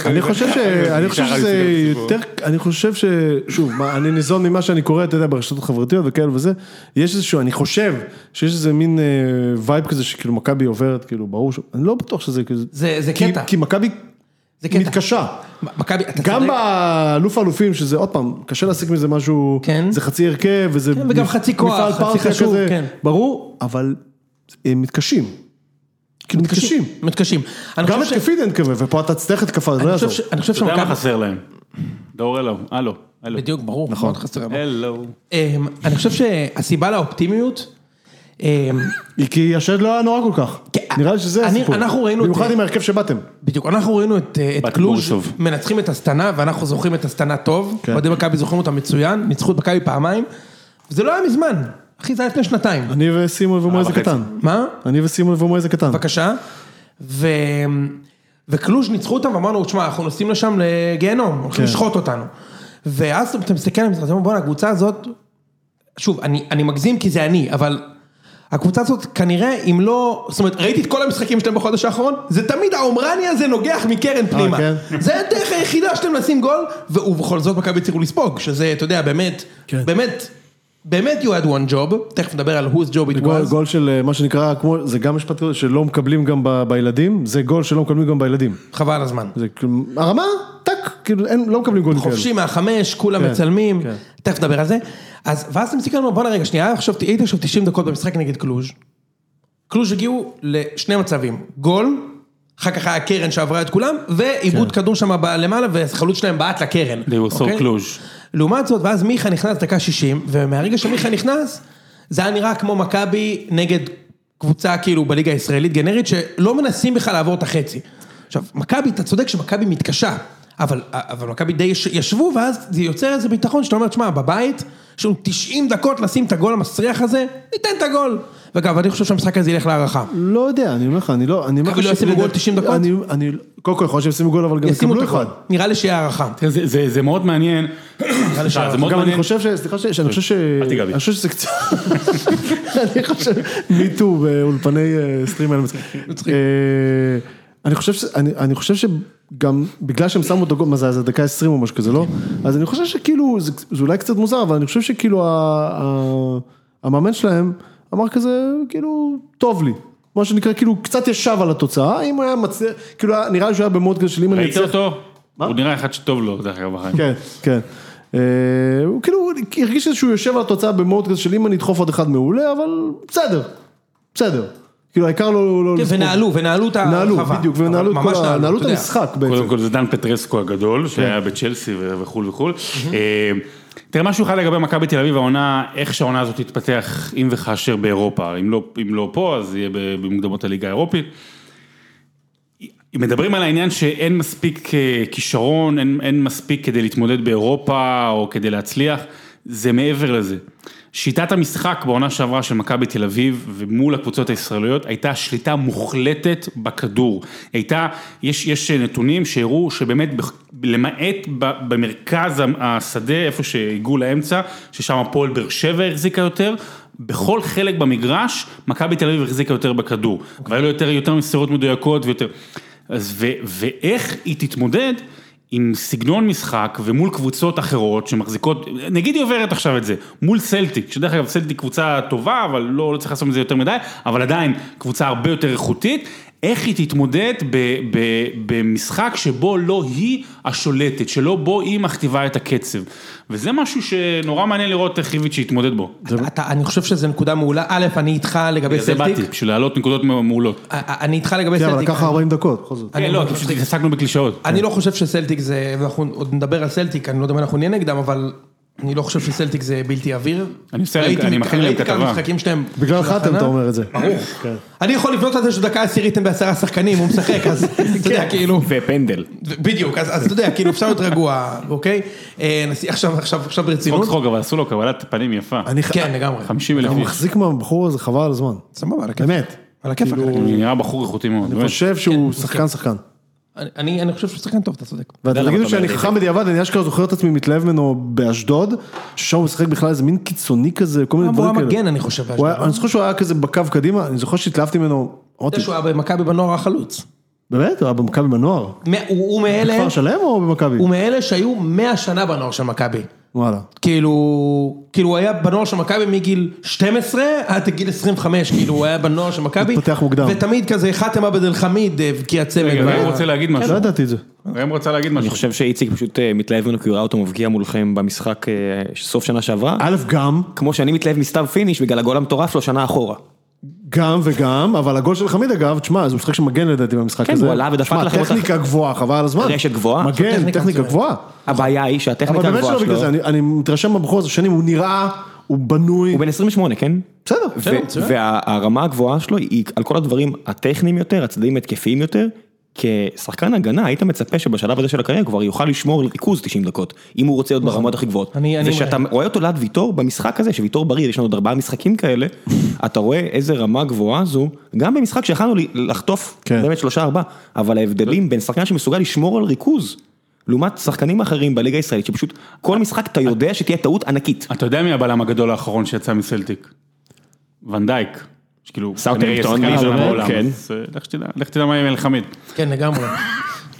אני חושב ש... אני חושב שזה יותר... אני חושב ש... שוב, מה, אני ניזון ממה שאני קורא, אתה יודע, ברשתות החברתיות וכאלה וזה. יש איזשהו, אני חושב שיש איזה מין אה, וייב כזה שכאילו מכבי עוברת, כאילו, ברור ש... אני לא בטוח שזה כאילו... זה- זה כי- קטע. כי מכבי זה קטע. מתקשה. מכבי, אתה גם צודק. באלוף האלופים, שזה עוד פעם, קשה להסיק מזה משהו, כן. זה חצי הרכב, וזה כן, וגם מפ- חצי כוח, מפעל חצי פרסיה חשוב, כזה, כן. ברור, אבל הם מתקשים. כאילו מתקשים. מתקשים. אני גם חושב ש- התקפית אין כזה, ופה אתה תצטרך התקפה, זה לא אני חושב יעזור. ש- אני חושב אתה יודע מה שמכבי... חסר להם? דור אלו, הלו, הלו. בדיוק, ברור, מאוד נכון, חסר. לנו. הלו. אמ, אני חושב שהסיבה לאופטימיות, אמ, היא כי השד לא היה נורא כל כך. כן, נראה לי שזה אני- הסיפור. אנחנו ראינו את במיוחד זה. עם ההרכב שבאתם. בדיוק, אנחנו ראינו את אה, את בת קלוז' בוריסוב. מנצחים את הסטנה, ואנחנו זוכרים את הסטנה טוב, כן. אוהדי מכבי זוכרים אותה מצוין, ניצחו את מכבי פעמיים, וזה לא היה מזמן, אחי, זה היה לפני שנתיים. אני וסימון ומועז וחצי. הקטן. מה? אני וסימון ומועז הקטן. אה, בבקשה. ו... וקלוז' ניצחו אותם ואמרנו, תשמע, אנחנו נוסעים לשם לגיהנום, הולכים כן. לשחוט אותנו. ואז אתה מסתכל על המשחק, אתה אומר, בואנה, הקבוצה הזאת, שוב, אני, אני מגזים כי זה אני, אבל הקבוצה הזאת כנראה, אם לא, זאת אומרת, ראיתי את כל המשחקים שלהם בחודש האחרון, זה תמיד העומרני הזה נוגח מקרן פנימה. כן? זה הדרך היחידה שאתם מנסים גול, ו- ובכל זאת מכבי הצליחו לספוג, שזה, אתה יודע, באמת, כן. באמת, באמת you had one job, תכף נדבר על whose job it גול- was. גול של אה, מה שנקרא, כמו, זה גם משפט כזה שלא מקבלים גם ב- בילדים, זה גול שלא מקבלים גם בילדים. חבל על הזמן. זה כאילו, הרמה, טאק, כאילו, אין, לא מקבלים גולים כאלה. חופשי מהחמש, כולם כן, מצלמים, כן. תכף נדבר על זה. אז, ואז אתה מסתכל ואומר, בואנה רגע, שנייה, עכשיו, הייתי עכשיו 90 דקות במשחק נגד קלוז'. קלוז' הגיעו לשני מצבים, גול, אחר כך היה קרן שעברה את כולם, ועיבוד כן. כדור שם ב- למעלה, והחלוץ שלהם בעט לקרן. They were so אוקיי? Cluj. לעומת זאת, ואז מיכה נכנס דקה 60, ומהרגע שמיכה נכנס, זה היה נראה כמו מכבי נגד קבוצה כאילו בליגה הישראלית גנרית, שלא מנסים בכלל לעבור את החצי. עכשיו, מכבי, אתה צודק שמכבי מתקשה, אבל, אבל מכבי די יש- ישבו, ואז זה יוצר איזה ביטחון שאתה אומר, שמע, בבית, יש לנו 90 דקות לשים את הגול המסריח הזה, ניתן את הגול. ואגב, אני חושב שהמשחק הזה ילך להערכה. לא יודע, אני אומר לך, אני לא... אני אומר לך מכבי לא ש- ישימו גול 90 דקות? אני, אני, קודם כל יכול להיות שהם ישימו גול, אבל גם ישימו יקבלו את הגול. אחד. כן, נראה לי שיהיה הערכה. תראה, כן, זה- זה זה מאוד מעניין. סליחה, זה מאוד גם אני מעניין. חושב ש... סליחה, ש- שאני חושב ש... אל תיגע בי. אני חושב שזה קצת... אני חושב... מיטו באולפני אה, סטרים האלה מצחיק. אה, אני חושב ש... אני- אני חושב שגם בגלל שהם שמו את הגול, מה זה היה? זה דקה 20 או משהו כזה, לא? אז אני חושב שכאילו, זה זה אולי קצת מוזר, אבל אני חושב שכאילו ה- ה- המאמן שלהם אמר כזה, כאילו, טוב לי. מה שנקרא, כאילו, קצת ישב על התוצאה, אם הוא היה מצליח, כאילו, היה- נראה לי שהוא היה במוד כזה של אם אני ראית אצליח... אותו? מה? הוא נראה אחד שטוב לו, דרך אגב, בחיים. כן, כן. אה, הוא כאילו הוא הרגיש איזה שהוא יושב על התוצאה במוד כזה של אם אני אדחוף עוד אחד מעולה, אבל בסדר, בסדר. כאילו העיקר לא... לא כן, לספוג. ונעלו, ונעלו את ההרחבה. נעלו, בדיוק, ונעלו את אבל כל ממש ה- נעלו, נעלו אתה את יודע. המשחק בעצם. קודם כל זה דן פטרסקו הגדול, שהיה בצ'לסי ו- וכול וכול. אה, תראה, משהו אחד לגבי מכבי תל אביב, העונה, איך שהעונה הזאת תתפתח, אם וכאשר באירופה. אם לא, אם לא פה, אז יהיה ב- במוקדמות הליגה האירופית. אם מדברים על העניין שאין מספיק אה, כישרון, אין, אין מספיק כדי להתמודד באירופה או כדי להצליח, זה מעבר לזה. שיטת המשחק בעונה שעברה של מכבי תל אביב ומול הקבוצות הישראליות הייתה שליטה מוחלטת בכדור. הייתה, יש, יש נתונים שהראו שבאמת, בח- למעט ב- במרכז המ- השדה, איפה שהגיעו לאמצע, ששם הפועל באר שבע החזיקה יותר, בכל חלק במגרש, מכבי תל אביב החזיקה יותר בכדור. והיו לו יותר, יותר מסירות מדויקות ויותר. אז ו, ואיך היא תתמודד עם סגנון משחק ומול קבוצות אחרות שמחזיקות, נגיד היא עוברת עכשיו את זה, מול סלטיק, שדרך אגב סלטיק קבוצה טובה, אבל לא, לא צריך לעשות מזה יותר מדי, אבל עדיין קבוצה הרבה יותר איכותית, איך היא תתמודד ב, ב, במשחק שבו לא היא השולטת, שלא בו היא מכתיבה את הקצב. וזה משהו שנורא מעניין לראות איך איביץ' יתמודד בו. אתה- אתה- אני חושב שזו נקודה מעולה. א', אני איתך לגבי בגלל זה באתי, סלטיק. בשביל להעלות נקודות מעולות. א- א- אני איתך לגבי כן, אבל סלטיק. לקח 40 דקות, בכל זאת. כן, לא, כי פשוט התעסקנו בקלישאות. אני לא חושב שסלטיק זה, ואנחנו עוד נדבר על סלטיק, אני לא יודע אם אנחנו נהיה נגדם, אבל אני לא חושב שסלטיק זה בלתי עביר. אני עושה להם- ראיתי אני מכ- מכין להם ראיתי כתבה. כמה משחקים שלהם. בגללך של אתם, הכנה. אתה אומר את זה. כן. ברור. אני יכול לבנות על זה שבדקה עשירית הם בעשרה שחקנים, הוא משחק, אז אתה כן. יודע, כאילו. ופנדל. בדיוק, אז אז אתה יודע, כאילו אפשר להיות רגוע, אוקיי? אה, נשיא- עכשיו, עכשיו, עכשיו צחוק ברצינות. צחוק, אבל עשו לו קבלת פנים יפה. אני ח- כן, לגמרי. 50 אלף אני איש. מחזיק מהבחור הזה חבל על הזמן. סבבה, על הכיף. באמת. על הכיף. כאילו, על הכיף. הוא נראה בחור איכותי מאוד. אני באמת. חושב כן. שהוא שחקן שחקן. אני- אני אני חושב שהוא שחקן טוב, אתה צודק. ואתם למה תגידו אתה אומר שאני את זה. חכם בדיעבד, אני אשכרה זוכר את עצמי מתלהב ממנו באשדוד, ששם הוא שיחק בכלל איזה מין קיצוני כזה, כל מיני אה, הוא דברים היה כאלה. מגן, אני חושב. הוא באשדוד. היה- אני זוכר שהוא היה כזה בקו קדימה, אני זוכר שהתלהבתי ממנו, אמרתי, זה שהוא היה במכבי בנוער החלוץ. באמת? הוא היה במכבי בנוער. מ- הוא הוא כן. מאלה, בכפר שלם או במכבי? הוא מאלה שהיו 100 שנה בנוער של מכבי. וואלה. כאילו, כאילו הוא היה בנוער של מכבי מגיל 12 עד גיל 25, כאילו הוא היה בנוער של מכבי. התפתח מוקדם. ותמיד כזה חתם עבד אל חמיד, אה, הבקיע צמד. רגע, וה- ראם רוצה להגיד כן. משהו. לא ידעתי את זה. ראם רוצה להגיד משהו. אני חושב שאיציק פשוט אה, מתלהב ממנו כי הוא ראה אותו מבקיע מולכם במשחק אה, סוף שנה שעברה. א', גם, כמו שאני מתלהב מסתיו פיניש בגלל הגול המטורף לו שנה אחורה. גם וגם, אבל הגול של חמיד אגב, תשמע, זה משחק של מגן לדעתי במשחק כן, הזה. הוא עלה ודפק תשמע, לכם אותה. טכניקה גבוהה, חבל על הזמן. רשת גבוהה? מגן, טכניקה טכניקה מצוינת. גבוהה. הבעיה היא אבל שהטכניקה באמת שלא הגבוהה בגלל שלו, זה, אני- אני מתרשם בבחור הזה שנים, הוא נראה, הוא בנוי. הוא בן 28, כן? בסדר, ו- והרמה הגבוהה שלו היא על כל הדברים הטכניים יותר, הצדדים התקפיים יותר. כשחקן הגנה היית מצפה שבשלב הזה של הקריירה כבר יוכל לשמור על ריכוז 90 דקות, אם הוא רוצה להיות ברמות הכי גבוהות. אני- אני- וכשאתה רואה אותו ליד ויטור במשחק הזה, שוויטור בריא, יש לנו עוד ארבעה משחקים כאלה, אתה רואה איזה רמה גבוהה זו, גם במשחק שיכלנו ל- לחטוף כן. באמת שלושה ארבעה, אבל ההבדלים בין שחקן שמסוגל לשמור על ריכוז, לעומת שחקנים אחרים בליגה הישראלית, שפשוט כל משחק אתה יודע שתהיה טעות ענקית. אתה יודע מי הבלם הגדול האחרון שיצא מסלטיק? ונדייק. שכאילו, סאוטהמפטון, כנראה יהיה שחקן אה, ראשון באמת? בעולם, כן. אז, אה, לך תדע- לך תדע מה עם אלחמיד. כן, לגמרי.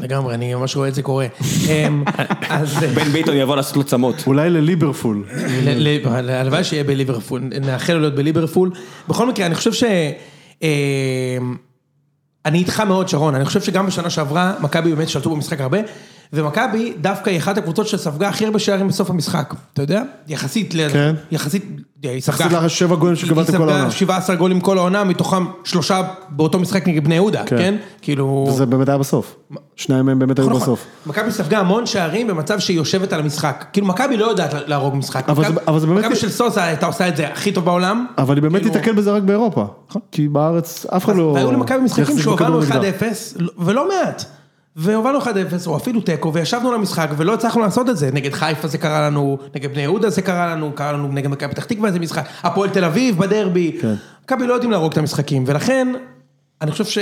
לגמרי, אני ממש רואה את זה קורה. אמ, אז... אה, בן ביטון יבוא לעשות לו צמות. אולי לליברפול. ל- ל- הלוואי שיהיה בליברפול, נאחל לו להיות בליברפול. בכל מקרה, אני חושב ש... אה, אני איתך מאוד, שרון, אני חושב שגם בשנה שעברה, מכבי באמת שלטו במשחק הרבה, ומכבי דווקא היא אחת הקבוצות שספגה הכי הרבה שערים בסוף המשחק, אתה יודע? יחסית ל... כן. יחסית... אה, היא ספגה... יחסית לשבע גולים שקיבלתם היא כל העונה. ספגה 17 גולים כל העונה, מתוכם שלושה באותו משחק נגד בני יהודה, כן. כן? כאילו... זה באמת היה בסוף. שניים מהם באמת היו נכון, בסוף. מכבי ספגה המון שערים במצב שהיא יושבת על המשחק. כאילו, מכבי לא יודעת להרוג משחק. אבל זה- מכבי- אבל זה באמת- מכבי של סוזה הייתה עושה את זה הכי טוב בעולם. אבל אני באמת כאילו- אתקל בזה רק באירופה. נכון, כי בארץ אף אחד לא... והיו למכבי משחקים יחזיק שהובלנו בכדור 1-0, נגדה. ולא מעט. והובלנו 1-0, או אפילו תיקו, וישבנו למשחק, ולא הצלחנו לעשות את זה. נגד חיפה זה קרה לנו, נגד בני יהודה זה קרה לנו, קרה לנו נגד מכבי פתח תקווה זה משחק, הפועל תל אביב בדרבי. מכבי לא יודעים להרוג את המשחקים, ולכן, אני חושב ש...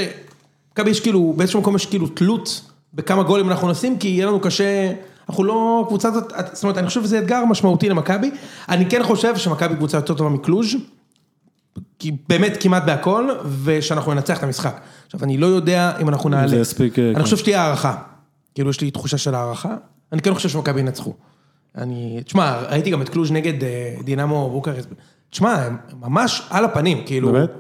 מכבי יש כאילו, באיזשהו מקום יש כאילו תלות בכמה גולים אנחנו נשים, כי יהיה לנו קשה... אנחנו לא קבוצה זאת, זאת אומרת, אני חושב שזה אתגר משמעותי למכבי. אני כן חושב שמכבי קבוצה יותר טובה מקלוז', כי באמת כמעט בהכל, ושאנחנו ננצח את המשחק. עכשיו, אני לא יודע אם אנחנו נעלה. זה יספיק, אה, אני כן. חושב שתהיה הערכה. כאילו, יש לי תחושה של הערכה. אני כן חושב שמכבי ינצחו. אני... תשמע, ראיתי גם את קלוז' נגד אה, דינמו בוקרסט. תשמע, הם ממש על הפנים, כאילו... באמת?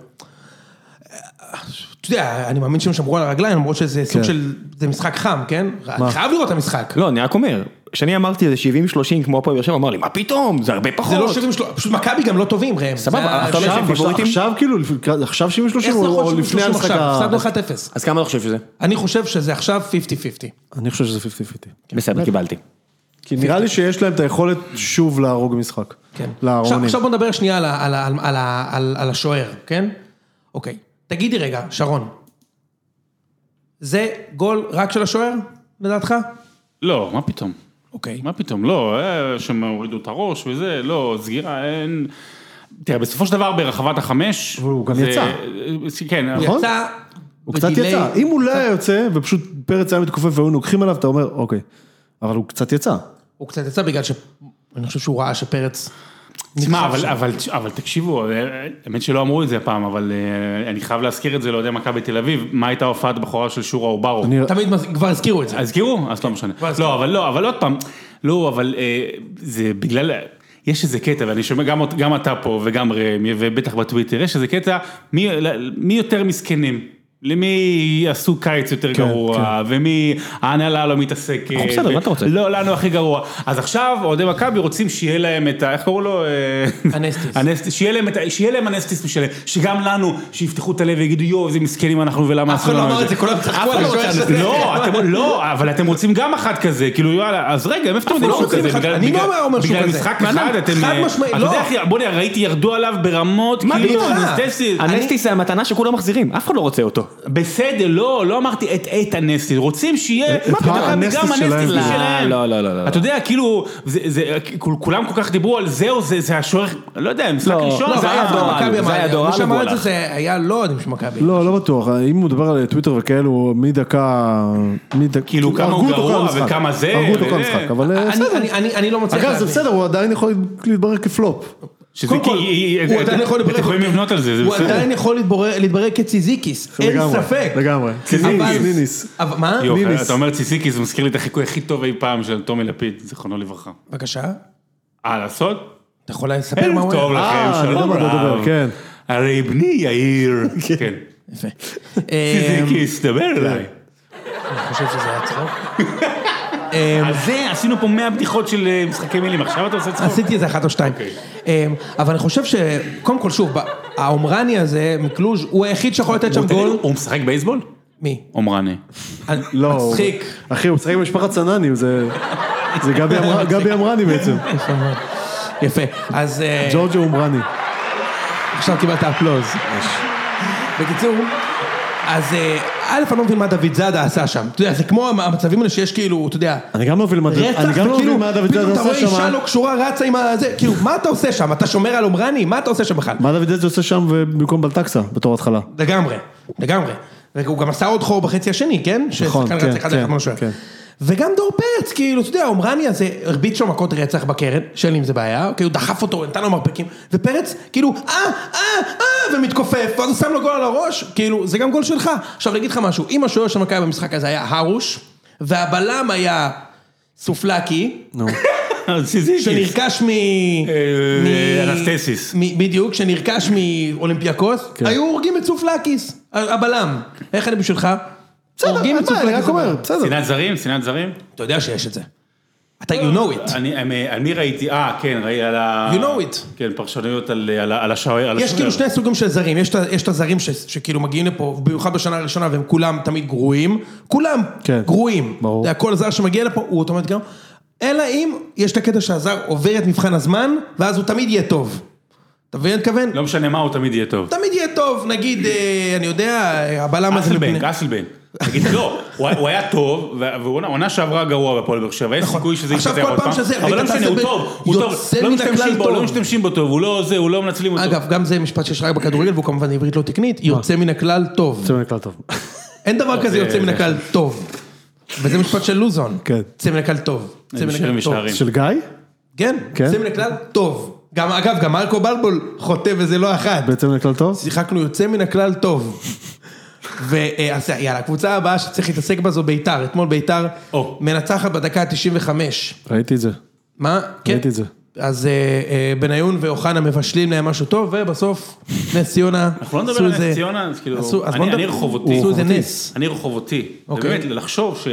אתה יודע, אני מאמין שהם שמרו על הרגליים, למרות שזה סוג כן. של... זה משחק חם, כן? אני חייב לראות את המשחק. לא, אני רק אומר, כשאני אמרתי זה 70-30 כמו הפועל באר שבע, הוא אמר לי, מה פתאום, זה הרבה פחות. זה לא שבעים שלו... פשוט מכבי גם לא טובים, ראם. סבבה, זה ה- אתה שבעים- אומר שהם עכשיו, פיבוריטים? עכשיו כאילו, לקראת- עכשיו 70-30 איך זה או או יכול להיות לפני שהם המשחק נכון עכשיו? ה... הפסדנו 1-0. אז כמה אתה חושב שזה? אני חושב שזה עכשיו 50-50. אני חושב שזה 50-50. בסדר, קיבלתי. כי נראה לי שיש להם את היכולת שוב להרוג משחק. כן. עכשיו, לארונים. עכשיו בוא נדבר שנייה על, ה- על, ה- על, על, ה- על, על השוער, כן? אוקיי. תגידי רגע, שרון, זה גול רק של השוער, לדעתך? לא, מה פתאום? אוקיי. מה פתאום? לא, אה, שהם הורידו את הראש וזה, לא, סגירה, אין... תראה, בסופו של דבר ברחבת החמש... והוא גם זה- יצא. אה, כן, אבל- נכון? יצא... הוא קצת בדיליי. יצא. אם הוא לא היה יוצא, ופשוט פרץ היה מתכופף והיו נוקחים עליו, אתה אומר, אוקיי. אבל הוא קצת יצא. הוא קצת יצא בגלל ש... אני חושב שהוא ראה שפרץ... תשמע, נדחף אבל, שם. אבל, אבל תקשיבו, אה, האמת שלא אמרו את זה הפעם, אבל אה, אני חייב להזכיר את זה לאוהדי מכבי תל אביב, מה הייתה הופעת בכורה של שורה אורברו. אני- תמיד מז- כבר הזכירו את זה. הזכירו? אז לא משנה. כבר הזכירו. לא, אבל לא, אבל עוד פעם, לא, אבל אה, זה בגלל, יש איזה קטע, ואני שומע גם, אות- גם אתה פה וגם רמי, ובטח בטוויטר, יש איזה קטע, מי, מי יותר מסכנים? למי עשו קיץ יותר כן, גרוע, ומי ההנהלה לא מתעסקת. אנחנו בסדר, ו- מה אתה רוצה? לא, לנו הכי גרוע. אז עכשיו אוהדי מכבי רוצים שיהיה להם את ה... איך קראו לו? אה, אנסטיס. אנסטיס. שיהיה להם את ה- שיהיה להם אנסטיס משלם. שגם לנו, שיפתחו את הלב ויגידו, יואו, איזה מסכנים אנחנו ולמה אף אחד עשו לא לנו אמר את זה, כולם צחקו על אף השוער אחד של לא- זה. לא, אתם- לא, אבל אתם רוצים גם אחת כזה, כאילו יאללה, אז רגע, מאיפה אתם יודעים לא שהוא רוצים כזה? אחד- בגלל- אני לא בגלל- אומר שהוא בגלל כזה. משחק מה, אחד אתם... חד אה, משמעית, אתה לא. יודע, אחי, בוא נראה, ראיתי, ירדו עליו ברמות, מה כאילו, פתאום? אנסטיס. הנסטיס זה המתנה שכולם מחזירים, אף אחד לא רוצה אותו. בסדר, לא, לא אמרתי את את הנסטיס, רוצים שיהיה, את מכבי האנסטיס גם שלהם. הנסטיס לא, שלהם. לא, לא, לא, לא. אתה יודע, כאילו, זה- זה- כול- כולם כל כך דיברו על זהו, זה זה השוער, לא יודע, משחק לא, ראשון, לא, זה אבל היה... אף אחד לא מכבי זה אמר- היה דורל מי שאמר את זה, והוא זה היה לא אוהדים של מכבי. לא, לא בטוח. אם הוא מדבר על טוויטר וכאלו, מדקה... מדק- כאילו, כמה הרגו הוא אותו גרוע כל המשחק. וכמה זה, הרגו אותו וזה. כל המשחק, אבל אה, אני- בסדר. אני- אני- אני לא מצליח אגב, זה להבין. בסדר, הוא עדיין יכול להתברר כפלופ. שזה קודם כי- כל, היא- היא- הוא עדיין יכול אתם יכולים לבנות על זה, זה הוא בסדר. עדיין יכול להתברר- להתברר כציזיקיס, אין לגמרי, ספק. לגמרי. אבל- ציזיקיס. אבל- מה? יופי, ניניס. אתה אומר ציסיקיס, זה מזכיר לי את החיקוי הכי טוב אי פעם של טומי לפיד, זיכרונו לברכה. בבקשה, אה, לעשות? אתה יכול לספר כן, מה ערב הוא טוב היה? לא לכם, אה, אני יודע שלום מה אתה מדבר, רב. כן. הרי בני יאיר. כן. יפה. אמ, ציסיקיס, דבר כן. אליי. אני חושב שזה היה צחוק. אמ, אז זה, עשינו פה 100 בדיחות של אה, משחקי מילים, עכשיו אתה עושה צחוק? עשיתי איזה אחת או שתיים. אוקיי. אמ, אבל אני חושב שקודם כל, שוב, ב- העומרני הזה מקלוז' הוא היחיד שיכול לתת שם גול. הוא משחק בייסבול? מי? עומרני. אני- לא. הוא- מצחיק. אחי, הוא משחק במשפחת סננים, זה... זה גבי אמר- גבי אמרני בעצם. לא, יפה מאוד. יפה, אז אה, ג'ורג'ו אומרני. עכשיו קיבלת אפלוז. בקיצור, אז אה, א', אני לא מבין מה דוד זאדה עשה שם. אתה יודע, זה כמו המ- המצבים האלה שיש כאילו, אתה יודע, אני גם לא מבין מה דוד- רצח, אני גם לא וכאילו, מבין מה דוד פתאום זאדה אתה עושה רואה אישה שם. אה? לא קשורה רצה עם הזה, כאילו, מה אתה עושה שם? אתה שומר על עומרני? מה אתה עושה שם בכלל? מה דוד זאדה עושה שם במקום בלטקסה, בתור התחלה? לגמרי, לגמרי. והוא גם עשה עוד חור בחצי השני, כן? נכון, ששחקן כן, רץ אחד כן, אחד משהו. כן. וגם דור פרץ, כאילו, אתה יודע, עומרני הזה הרביץ שם מכות רצח בקרן, שאין לי עם זה בעיה, כאילו, דחף אותו, נתן לו מרפקים, ופרץ, כאילו, אה, אה, אה, ומתכופף, ואז הוא שם לו גול על הראש, כאילו, זה גם גול שלך. עכשיו, אני אגיד לך משהו, אם השוער של מכבי במשחק הזה היה הרוש, והבלם היה סופלקי, אה, ציסיקיס. שנרכש מ... אה, מ- אנסטסיס. מ- בדיוק, שנרכש מאולימפיאקוס, היו הורגים את סופלקיס, ה- הבלם. איך אני בשבילך? הורגים אין את בעיה, אני רק סופלקיס. אומר, הבלם. בסדר. שנאת זרים? שנאת זרים? אתה יודע שיש את זה. אתה you know it. אני, אני- אני ראיתי, אה, כן, ראיתי על ה... You know it. כן, פרשנויות על, על, על השוער. על יש השוער. כאילו שני סוגים של זרים, יש את ה- יש את הזרים ש- שכאילו מגיעים לפה, במיוחד בשנה הראשונה, והם כולם תמיד גרועים, כולם כן, גרועים. ברור. אתה יודע, כל זר שמגיע לפה, הוא אוטומט גם, אלא אם יש את הקטע שהזר עובר את מבחן הזמן, ואז הוא תמיד יהיה טוב. אתה מבין מה אני מתכוון? לא משנה מה, הוא תמיד יהיה טוב. תמיד יהיה טוב, נגיד, אה, אני יודע, הבלם הזה... אסלבנק, מפני- אסלבנק. תגיד, לא, הוא היה- הוא היה טוב, והעונה שעברה גרוע בפועל באר שבע, יש נכון. סיכוי שזה עכשיו, יתפתח כל עוד פעם פעם. שזה- אבל ראית לא את משנה, הוא אסלבנק? טוב, הוא טוב. יוצא לא מן הכלל משתמשים בו, טוב. לא משתמשים בו טוב, הוא לא זה, הוא לא מנצלים אותו. אגב, גם זה משפט שיש רק בכדורגל, והוא כמובן עברית לא תקנית, יוצא מן הכלל טוב. יוצא מן הכלל טוב. אין דבר כזה זה- יוצא מן הכלל טוב. וזה משפט של לוזון. כן. יוצא מן הכלל טוב. יוצא מן שירים הכלל טוב. ושערים. של גיא? כן, כן. יוצא מן הכלל טוב. גם, אגב, גם מרקו בלבול חוטא וזה לא אחת. בעצם מן הכלל טוב? שיחקנו יוצא מן הכלל טוב. ואז אה, יאללה, הקבוצה הבאה שצריך להתעסק בה זו ביתר. אתמול ביתר או. מנצחת בדקה ה-95. ראיתי את זה. מה? כן. ראיתי את זה. אז אה, אה, בניון ואוחנה מבשלים להם משהו טוב, ובסוף נס ציונה אנחנו לא עשו נדבר על איזה- נס ציונה, אז כאילו, עשו- אז אני בוא אני נדבר- רחובותי. עשו איזה נס. אני רחובותי. זה אוקיי. באמת, לחשוב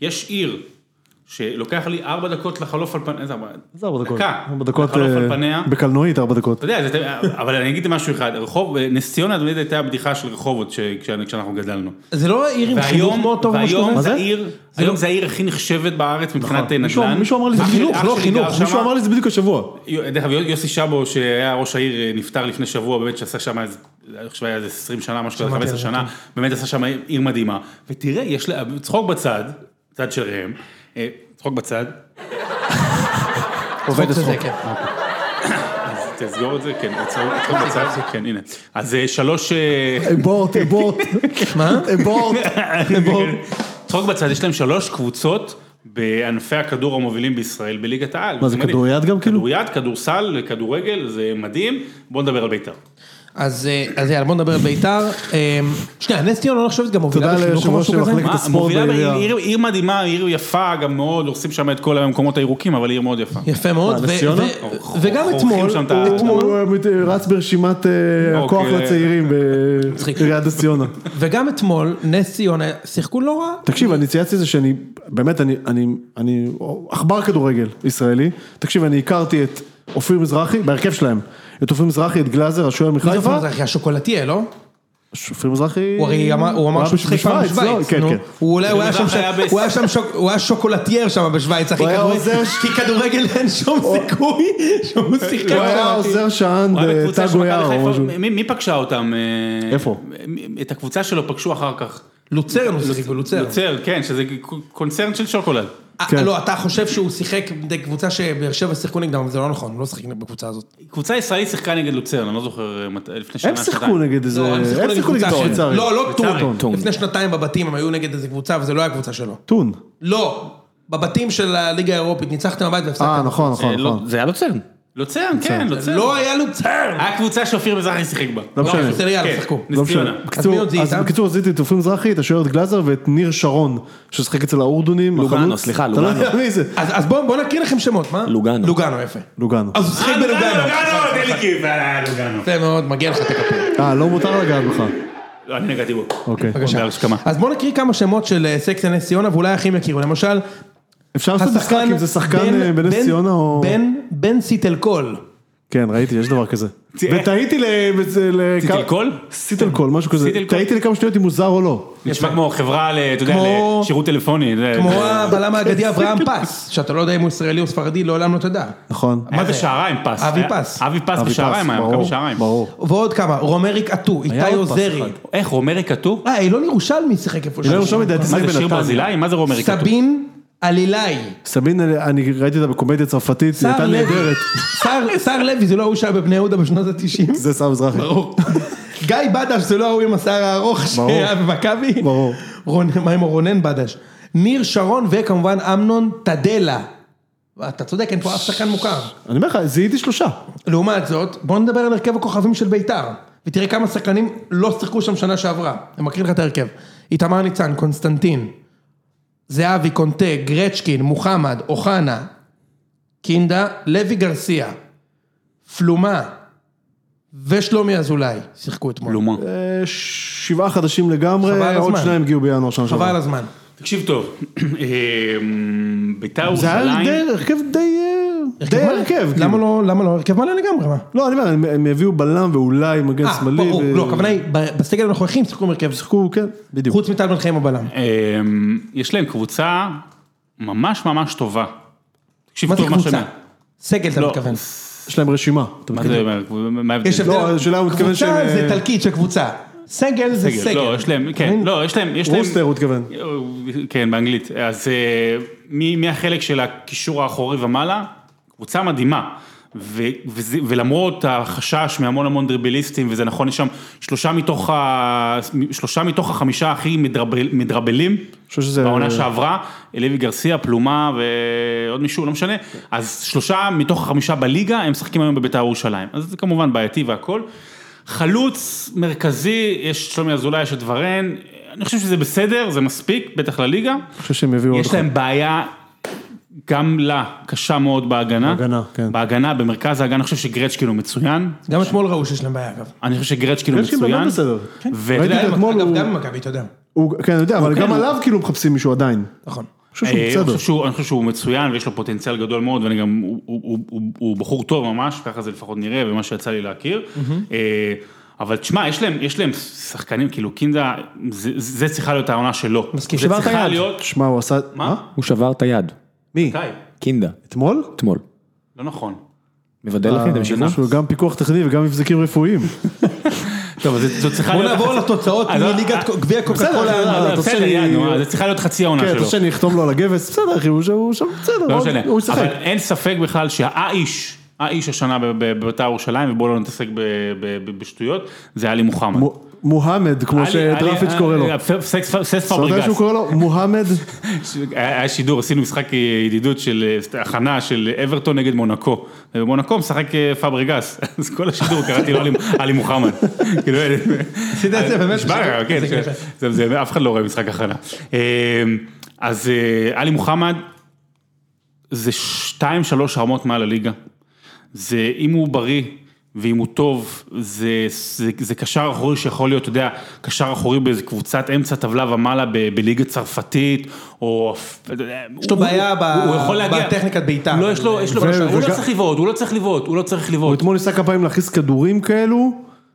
שיש עיר שלוקח לי ארבע דקות לחלוף על פניה, איזה ארבע? זה ארבע דקות. דקה. ארבע דקות לחלוף אה, על פניה. בקלנועית, ארבע דקות. אתה יודע, זה- אבל אני אגיד משהו אחד, רחוב, נס ציונה תמיד הייתה הבדיחה של רחובות ש- כש- כשאנחנו גדלנו. זה לא עיר עם חינוך והיום, מאוד טוב או משהו והיום כזה? זה זה? נכון. העיר, היום זה העיר הכי נחשבת בארץ מבחינת נדל"ן. מישהו- מישהו אמר לי זה אח שלי- חינוך, אח לא שלי גר חינוך. שמה. מישהו אמר לי זה בדיוק השבוע. יו- דרך אגב, יוסי שבו, שהיה ראש העיר, אה, נפטר לפני שבוע, באמת שעשה שם, איזה- אני חושב היה איזה 20 שנה, משהו כזה, שמעתי 15 על זה, שנה, כן. באמת עשה שם עיר מדהימה. ותראה, יש לה, צחוק בצד, צד של ראם, אה, צחוק בצד, עובד זה, כן. תסגור את זה, כן, צחוק צחוק בצד, כן, הנה. אז אה, שלוש... אה, אבורט, אבורט. מה? אבורט. אבורט. צחוק בצד, יש להם שלוש קבוצות בענפי הכדור המובילים בישראל בליגת העל. מה, זה מדהים. כדוריד גם, כאילו? כדוריד, כדורסל, כדורגל, זה מדהים. בואו נדבר על בית"ר. אז אה, אז יאללה, בוא נדבר על ביתר. אה, שנייה, נס ציונה לא נחשבת גם מובילה תודה בחינוך או ליושב-ראש משהו של כזה? מחלקת- מה, הספורט מובילה בעירייה. בעיר- עיר מדהימה, עיר יפה גם מאוד, הורסים שם את כל המקומות הירוקים, אבל עיר מאוד יפה. יפה מאוד, מה, נס ו- ציונה? ו- חור- וגם חור- אתמול, חורכים שם את ה- אתמול- הוא אה, רץ ברשימת אה, אוקיי. הכוח לצעירים מצחיק. בעיריית נס ציונה. וגם אתמול, נס ציונה שיחקו לא רע. תקשיב, אני צייצתי את זה שאני, באמת, אני, אני, אני עכבר כדורגל ישראלי. תקשיב, אני הכרתי את אופיר מזרחי, בהרכב שלהם. את אופיר מזרחי, את גלאזר, השוער מה זה מחיפה. מזרחי? השוקולטייה, לא? אופיר מזרחי... הוא הרי אמר הוא אמר היה שהוא שיחק פעם לא? בשוויץ, כן, נו. כן. הוא אולי- הוא היה שם- מזרחי היה ב- הוא היה שם, שוק- הוא היה שוקולטייר שם בשוויץ, אחי, הוא היה כדורגל- עוזר- כי כדורגל אין שום סיכוי שהוא שיחק הוא היה שם. עוזר שען הוא היה בקבוצה של בטאגו מכבי יער או חיפה. משהו. מי- מי פגשה אותם? אה, איפה? מ- את הקבוצה שלו פגשו אחר כך. לוצרן הוא שיחק בלוצרן. יוצר, כן, שזה קונצרן של שוקולד. אה, כן. לא, אתה חושב שהוא שיחק נגד קבוצה שבאר שבע שיחקו נגדם, אבל זה לא נכון, הוא לא שיחק בקבוצה הזאת. קבוצה ישראלית שיחקה נגד לוצרן, אני לא זוכר אה, מת- לפני שנה, הם שיחקו נגד איזה... לא, הם שיחקו הם נגד שיחקו קבוצה נגד של- שוויצרים. לא, לא טון. טון. לפני שנתיים בבתים הם היו נגד איזה קבוצה, וזה לא היה קבוצה שלו. טון. לא, בבתים של הליגה האירופית, ניצחתם בבית והפסקתם. אה, נכון, נכון, לא, נכון. זה היה לוצרן. לוצרן, כן, לוצרן. לא היה לוצרן! היה קבוצה שאופיר מזרחי שיחק בה. אה, לא משנה. בסדר, יאללה, כן, שחקו. לא נס משנה. ציונה. בקיצור, מי עוד זה אז איתם? בקיצור, זיהיתי את אופיר מזרחי, את השוערת גלאזר ואת ניר שרון, ששחק אצל האורדונים. לוגאנו, החלוץ. סליחה, אתה לא לוגאנו. יודע מי זה. אז אז בואו בואו נקריא לכם שמות, מה? לוגאנו. לוגאנו, יפה. לוגאנו. אז הוא שיחק אה, בלוגאנו. נכון. לוגאנו, דליקי, אה, לוגאנו. יפה מאוד, מגיע לך תקפל. אה, לא מותר לגעת בך. לא, אני נגעתי בו. אוקיי. בבקשה. בהרשכמה. אז בואו נקריא כמה שמות של אה, סקסיה נס ציונה, ואולי אחים יכירו. למשל, אפשר לעשות משחק השחקן אם זה שחקן בן- אה, בנס בן- ציונה או... בן בן סיטלקול. כן, ראיתי, יש דבר כזה. צי- ותהיתי ל... סיטלקול? סיטלקול, משהו כזה. סיטלקול. תהיתי לכמה שניות אם הוא זר או לא. נשמע כמו חברה, ל- אתה יודע, כמו- לשירות טלפוני. אה, זה- כמו זה- הבלם האגדי אברהם פס, שאתה לא יודע אם הוא ישראלי או ספרדי, לעולם לא תדע. נכון. מה זה שעריים פס? אבי היה- פס. אבי פס אבי בשעריים פס, היה, מכבי ברור, שעריים. ברור. ועוד כמה, רומריק עטו, איתי עוד פס עוזרי. אחד. איך, רומרי כתוב? אה, אילון ירושלמי שיחק איפה אילון ירושלמי לדעתי מה זה בנתניה. שיר ברזילאי? מה זה רומרי כתוב? סבין עלילאי. סבין, אני ראיתי אותה בקומדיה צרפתית, היא שר הייתה לוי. נהדרת. שר- שר לוי זה לא ההוא שהיה בבני יהודה בשנות התשעים. זה סער מזרחי. ברור. גיא בדש זה לא ההוא עם השיער הארוך ברור. שהיה במכבי. ברור. רון- מה עם רונן בדש? ניר שרון וכמובן אמנון טדלה. אתה צודק, אין פה אף שחקן מוכר. אני אומר לך, זיהיתי שלושה. לעומת זאת, בוא נדבר על הרכב הכוכבים של ביתר, ותראה כמה שחקנים לא שיחקו שם שנה שעברה. אני מקריא לך את ההרכב. איתמר ניצן, קונסטנטין, זהבי, קונטה, גרצ'קין, מוחמד, אוחנה, קינדה, לוי גרסיה, פלומה ושלומי אזולאי שיחקו אתמול. לומה. אה, שבעה חדשים חבל על לגמרי, עוד הזמן. שניים הגיעו בינואר שנה חבל על שעברה. הזמן. תקשיב טוב, אמ, ביתר זה היה ירושלים, די הרכב די... אה, די מלא. הרכב. למה כאילו. לא, למה לא? הרכב מלא לגמרי, מה? לא, אני אומר, הם- הם הביאו בלם ואולי מגן אה, שמאלי. ברור, ו- לא, הכוונה היא, ב- בסגל הנוכחי הם שיחקו עם הרכב, שיחקו, כן, בדיוק. חוץ מטל בן חיים הבלם. אמ, יש להם קבוצה ממש ממש טובה. תקשיב מה זה טוב מה קבוצה? שהם... סגל אתה לא. מתכוון. יש להם רשימה. אתה מה מתכוון. זה אומר? מה ההבדל? יש הבדל, לא, השאלה הוא מתכוון קבוצה שהם, זה אה, תלקיט של קבוצה, סגל זה סגל. סגל. לא, יש להם, אתה כן, מבין? לא, יש להם, יש להם... רוסטר הוא התכוון. כן, באנגלית. אז אה, מי מי החלק של הקישור האחורי ומעלה? קבוצה מדהימה. ו- וזה- ולמרות החשש מהמון המון דריבליסטים, וזה נכון, יש שם שלושה מתוך, ה... שלושה מתוך החמישה הכי מדרבל... מדרבלים, חושב שזה- בעונה שעברה, לוי גרסיה, פלומה ועוד מישהו, לא משנה, אז שלושה מתוך החמישה בליגה, הם משחקים היום בבית"ר ירושלים, אז זה כמובן בעייתי והכל. חלוץ מרכזי, יש את שלומי אזולאי, יש את ורן, אני חושב שזה בסדר, זה מספיק, בטח לליגה. אני חושב שהם הביאו עוד יש אחד. להם בעיה גם לה, קשה מאוד בהגנה. בהגנה, כן. בהגנה, במרכז ההגנה, אני חושב שגרצ'קין הוא מצוין. גם אתמול ראו שיש להם בעיה אגב. אני חושב שגרצ'קין הוא גרצ'קין מצוין. כן. באמת בסדר. ואתה ראיתי יודע, אותו כן, אתמול אגב, הוא- גם עם מכבי, אתה יודע. הוא- כן, אני יודע, אבל גם הוא- עליו כאילו מחפשים מישהו עדיין. אני נכון. חושב שהוא אה, אני בסדר. חושב שהוא- אני חושב שהוא מצוין ויש לו פוטנציאל גדול מאוד ואני גם, הוא- הוא- הוא- הוא- הוא בחור טוב ממש, ככה זה לפחות נראה ומה שיצא לי להכיר. אה, אבל תשמע, יש להם, יש להם שחקנים, כאילו קינדה, זה, זה צריכה להיות העונה שלו. מסכים, זה שברת צריכה יד. להיות... שמע, הוא עשה... מה? הוא שבר את היד, מי? די, קינדה, אתמול? אתמול. לא נכון. מבדל לכם את המשיכה? שהוא גם פיקוח טכני וגם מבזקים רפואיים. טוב, אז זו צריכה בוא להיות... נעבור לתוצאות אז- מליגת אה, גביע קוקה בסדר, קולה. לא, אה, לא, אתה רוצה בסדר, לי- יד, נו, אה, זה צריכה להיות חצי העונה כן, שלו. אתה רוצה שאני אחתום לו על הגבס? בסדר, אחי, הוא הוא שם, בסדר, לא הוא- משנה. הוא ישחק. אבל אין ספק בכלל שהאיש, האיש השנה בב- בבית"ר ירושלים, ובואו לא נתעסק ב- ב- ב- בשטויות, זה עלי מוחמד. מו- מוהמד, כמו שדרפיץ' קורא לו. אה, סס- סס- סס אתה יודע פבריגס. שהוא קורא לו מוהמד? היה היה שידור, עשינו משחק אה, ידידות של אה, הכנה של אברטון נגד מונקו. ובמונקו משחק אה, פבריגס, אז כל השידור קראתי לו עלי- עלי מוחמד. כאילו, אה, עשית את זה באמת? נשבע, כן, זה כן. קטע. זה- זה- אף אחד לא רואה משחק הכנה. אה, אז אה, עלי מוחמד, זה שתיים, שלוש רמות מעל הליגה. זה אם הוא בריא ואם הוא טוב, זה, זה, זה קשר אחורי שיכול להיות, אתה יודע, קשר אחורי באיזה קבוצת אמצע טבלה ומעלה ב, בליגה צרפתית, או... יש לו בעיה ב- בטכניקת בעיטה. לא, יש לו, יש לו, ו- משהו, הוא לא וגם- צריך לבעוט, הוא לא צריך לבעוט, הוא לא צריך הוא לבעוט. אתמול ניסה כמה פעמים להכניס כדורים כאלו.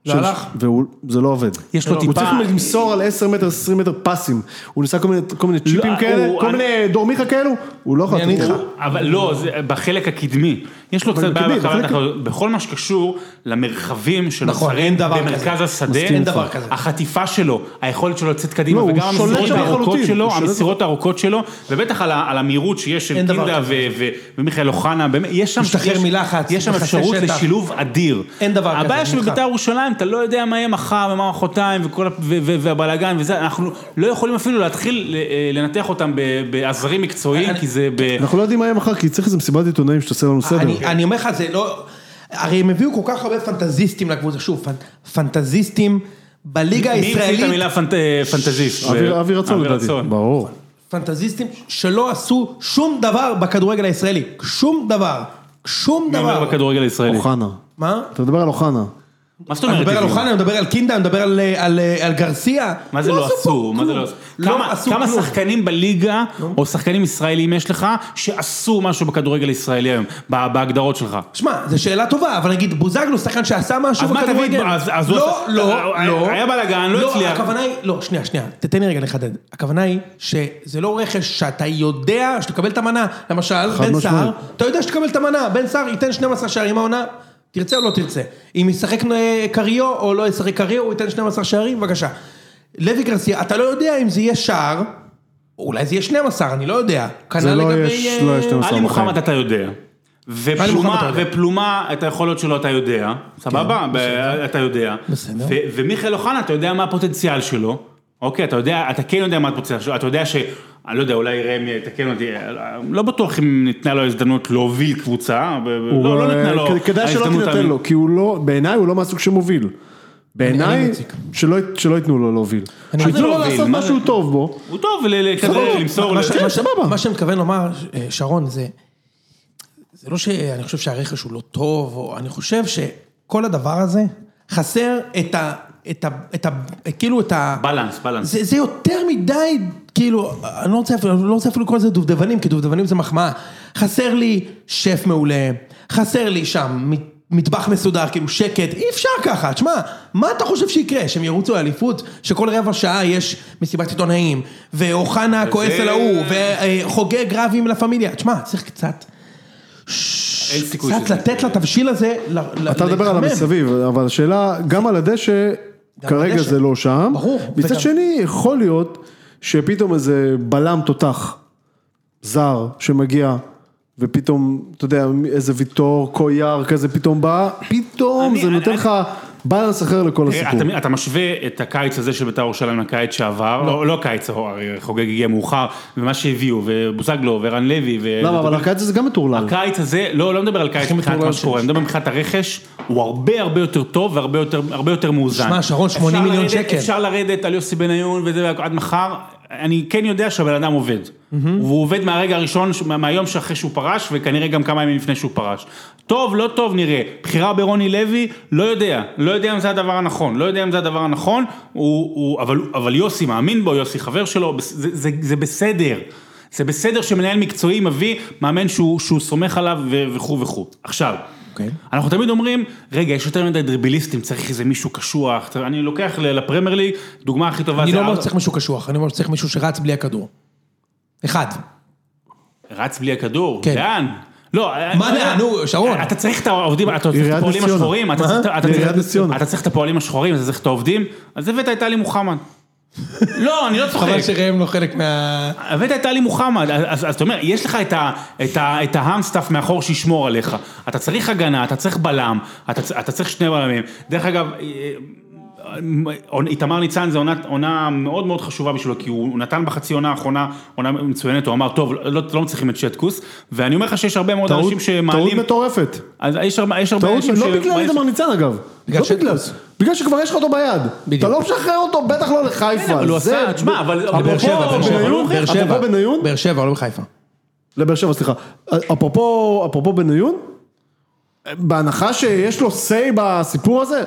של- הלך. והוא- זה לא עובד. יש לו הוא טיפה- צריך למסור על 10 מטר, 20 מטר פסים. הוא ניסה כל מיני- כל מיני צ'יפים לא, הוא- כאלה, כל אני- מיני דורמיכה כאלו, הוא לא יכול... אני לתת איתך. לו. אבל לא, זה בחלק הקדמי. יש לו קצת בעיה הקדמי, בחלק בחלק- הקדמי. בכל מה שקשור למרחבים נכון, שנוצרים אין דבר במרכז כזה. השדה, מסכים אין איתך. דבר כזה. החטיפה שלו, היכולת שלו לצאת קדימה, לא, הוא וגם שולט המסירות שם הארוכות לחלוטין, שלו, הוא שולט המסירות הארוכות שלו, ובטח על ה- על המהירות שיש של אין דבר קינדה כזה. ו- ו- ומיכאל אוחנה, באמת, יש שם... משתחרר יש- מלחץ, יש שם מכסה אפשרות שטח. לשילוב אדיר. אין דבר כזה, הבעיה זה נדחה. שבבית"ר ירושלים, אתה לא יודע מה יהיה מחר ומה מחרתיים וכל ה- ו- ו- והבלאגן וזה, אנחנו לא יכולים אפילו להתחיל ל- אה, לנתח אותם ב- בעזרים מקצועיים, אני- כי זה ב... אנחנו לא יודעים מה יהיה מחר, כי צריך איזה מסיבת עיתונאים שתעשה לנו סדר. אני- אני אומר לך, זה לא... הרי הם הביאו כל כך הרבה פנטזיסטים לקבוצה, שוב, פנ- פנטזיסטים בליגה מי המציא את הישראלית, המילה פנט- אה, פנטזיסט? אה, אבי- אבי רצון אבי לדעתי, רצון. ברור. פנטזיסטים שלא עשו שום דבר בכדורגל הישראלי, שום דבר, שום מי אומר דבר. בכדורגל הישראלי? אוחנה. מה? אתה מדבר על אוחנה. מה זאת אני אומרת? מדבר על הביאו? אוחנה, אני מדבר על קינדה, אני מדבר על, אה, על, על גרסיה. מה זה לא פה עשו? מה זה לא כלום. עשו? לא כמה- עשו כמה כלום. לא. שחקנים בליגה, או שחקנים ישראלים יש לך, שעשו משהו בכדורגל הישראלי היום, ב- בהגדרות שלך? שמע, זו שאלה טובה, אבל נגיד, בוזגלו שחקן שעשה משהו אז מה תביא את בכדורגל. בוז- אז הוא לא, עשה- לא, היה- לא. היה בלאגן, לא הצליח. הכוונה היא, לא, שנייה, שנייה, תתן לי רגע לחדד. הכוונה היא שזה לא רכש שאתה יודע שתקבל את המנה. למשל, בן סער, משמעית. אתה יודע שתקבל את המנה, בן סער ייתן 12 שערים העונה, תרצה או לא תרצה. אם ישחק אה, קריו או לא ישחק קריו, הוא ייתן 12 שערים, בבקשה. לוי גרסיה, אתה לא יודע אם זה יהיה שער, אולי זה יהיה 12, אני לא יודע. זה כנ"ל לא לגבי... יש, אה, לא יש 12 עלי מוחמד בחיים. אתה יודע. עלי מוחמד אתה ופלומה, יודע. כן, ופלומה, את היכולות שלו אתה יודע, סבבה? ב- אתה יודע. בסדר. ו- ומיכאל אוחנה, אתה יודע מה הפוטנציאל שלו, אוקיי? אתה יודע, אתה כן יודע מה הפוטנציאל שלו, אתה יודע ש... אני לא יודע, אולי ראם יתקן אותי, לא בטוח אם ניתנה לו הזדמנות להוביל קבוצה, ב- ב- הוא אה, לא, לא ניתנה לו כ- כדאי שלא ההזדמנות תינתן האמין- לו, כי הוא לא, בעיניי הוא לא מהסוג שמוביל. בעיניי, מציק. שלא י- שלא ייתנו לו להוביל. שייתנו לו להוביל? לעשות מה משהו טוב בו. הוא טוב ל- ל- כזה למסור, מה ל- ש- כן. מה ש- סבבה. מה שאני מתכוון לומר, אה, שרון, זה... זה לא שאני חושב שהרכש הוא לא טוב, או אני חושב שכל הדבר הזה חסר את ה... את ה... את ה... כאילו את ה... בלנס, בלנס. זה, זה יותר מדי, כאילו, אני לא רוצה, אפילו- אני לא רוצה אפילו לקרוא לזה דובדבנים, כי דובדבנים זה מחמאה. חסר לי שף מעולה, חסר לי שם מ- מטבח מסודר, כאילו שקט, אי אפשר ככה, תשמע, מה אתה חושב שיקרה? שהם ירוצו לאליפות, שכל רבע שעה יש מסיבת עיתונאים, ואוחנה כועס על ההוא, וחוגג רב עם לה פמיליה, תשמע, צריך קצת, אין סיכוי קצת שזה. לתת לתבשיל הזה, ל- ל- אתה מדבר על להתחמם. המסביב, אבל השאלה, גם על הדשא, גם כרגע הדשא. זה לא שם. ברור, וגם- מצד שני, יכול להיות שפתאום איזה בלם תותח זר שמגיע, ופתאום, אתה יודע, איזה ויטור, קויאר כזה פתאום בא, פתאום אני- זה אני- נותן אני- אה, לך בלנס אחר לכל הסיפור. אתה, אתה משווה את הקיץ הזה של בית"ר ירושלים לקיץ שעבר, לא, לא קיץ, הרי חוגג הגיע מאוחר, ומה שהביאו, ובוזגלו, ורן לוי, ו... לא, למה, אבל הקיץ הזה גם מטורלל. הקיץ הזה, לא, לא מדבר על קיץ מבחינת מה שקורה, אני מדבר מבחינת הרכש, הוא הרבה הרבה יותר טוב והרבה יותר, הרבה יותר מאוזן. שמע, שרון, אפשר 80 מיליון לרדת- שקל. אפשר לרדת על יוסי בניון וזה, והכל, עד מחר, אני כן יודע שהבן אדם עובד. והוא עובד מהרגע הראשון, ש- מה- מהיום שאחרי שהוא פרש, וכנראה גם כמה ימים לפני שהוא פרש. טוב, לא טוב, נראה. בחירה ברוני לוי, לא יודע. לא יודע אם זה הדבר הנכון. לא יודע אם זה הדבר הנכון, הוא, הוא, אבל, אבל יוסי מאמין בו, יוסי חבר שלו, בס- זה, זה, זה בסדר. זה בסדר שמנהל מקצועי מביא מאמן שהוא, שהוא סומך עליו ו- וכו' וכו'. עכשיו, אוקיי. אנחנו תמיד אומרים, רגע, יש יותר מדי דריבליסטים, צריך איזה מישהו קשוח. אתה- אני לוקח ל- לפרמייר ליג, דוגמה הכי טובה אני זה לא אומר אר- שצריך מישהו קשוח, אני אומר שצריך מישהו שרץ בלי הכדור. אחד. רץ בלי הכדור, כן. לאן? לא, מה אתה- לאן? נו, שרון. אתה צריך את העובדים, אתה צריך את עיריית הפועלים נס ציונה. השחורים, אתה מה? צריך את- אתה לעיריית צריך- נס ציונה. אתה צריך את הפועלים השחורים, אתה צריך את העובדים, אז הבאת את טלי מוחמד. לא, אני לא צוחק. חבל שראם לא חלק מה... הבאת את טלי מוחמד, אז- אז אז אתה אומר, יש לך את ה- את ה- את ההמסטאף מאחור שישמור עליך. אתה צריך הגנה, אתה צריך בלם, אתה צ- אתה צריך שני בלמים. דרך אגב, אה, איתמר ניצן זה עונה, עונה מאוד מאוד חשובה בשבילו, כי הוא נתן בחצי עונה האחרונה עונה מצוינת, הוא אמר, טוב, לא, לא מצליחים את שטקוס, ואני אומר לך שיש הרבה מאוד טעות אנשים שמעלים... טעות מטורפת. אז יש הרבה, יש הרבה טעות, אנשים לא בגלל מה יש- איתמר ניצן אגב. בגלל לא בגלל, שטקוס. בגלל שכבר יש לך אותו ביד. אתה לא משחרר אותו, בטח לא כן, לחיפה. אבל הוא זה- עשה- תשמע, אבל- אפרופו באר שבע, באר שבע. בניון, באר שבע, אפרופו בניון, באר שבע, לא בחיפה. לבאר שבע, סליחה. אפרופו, אפרופו בניון, בהנחה שיש לו say בסיפור הזה,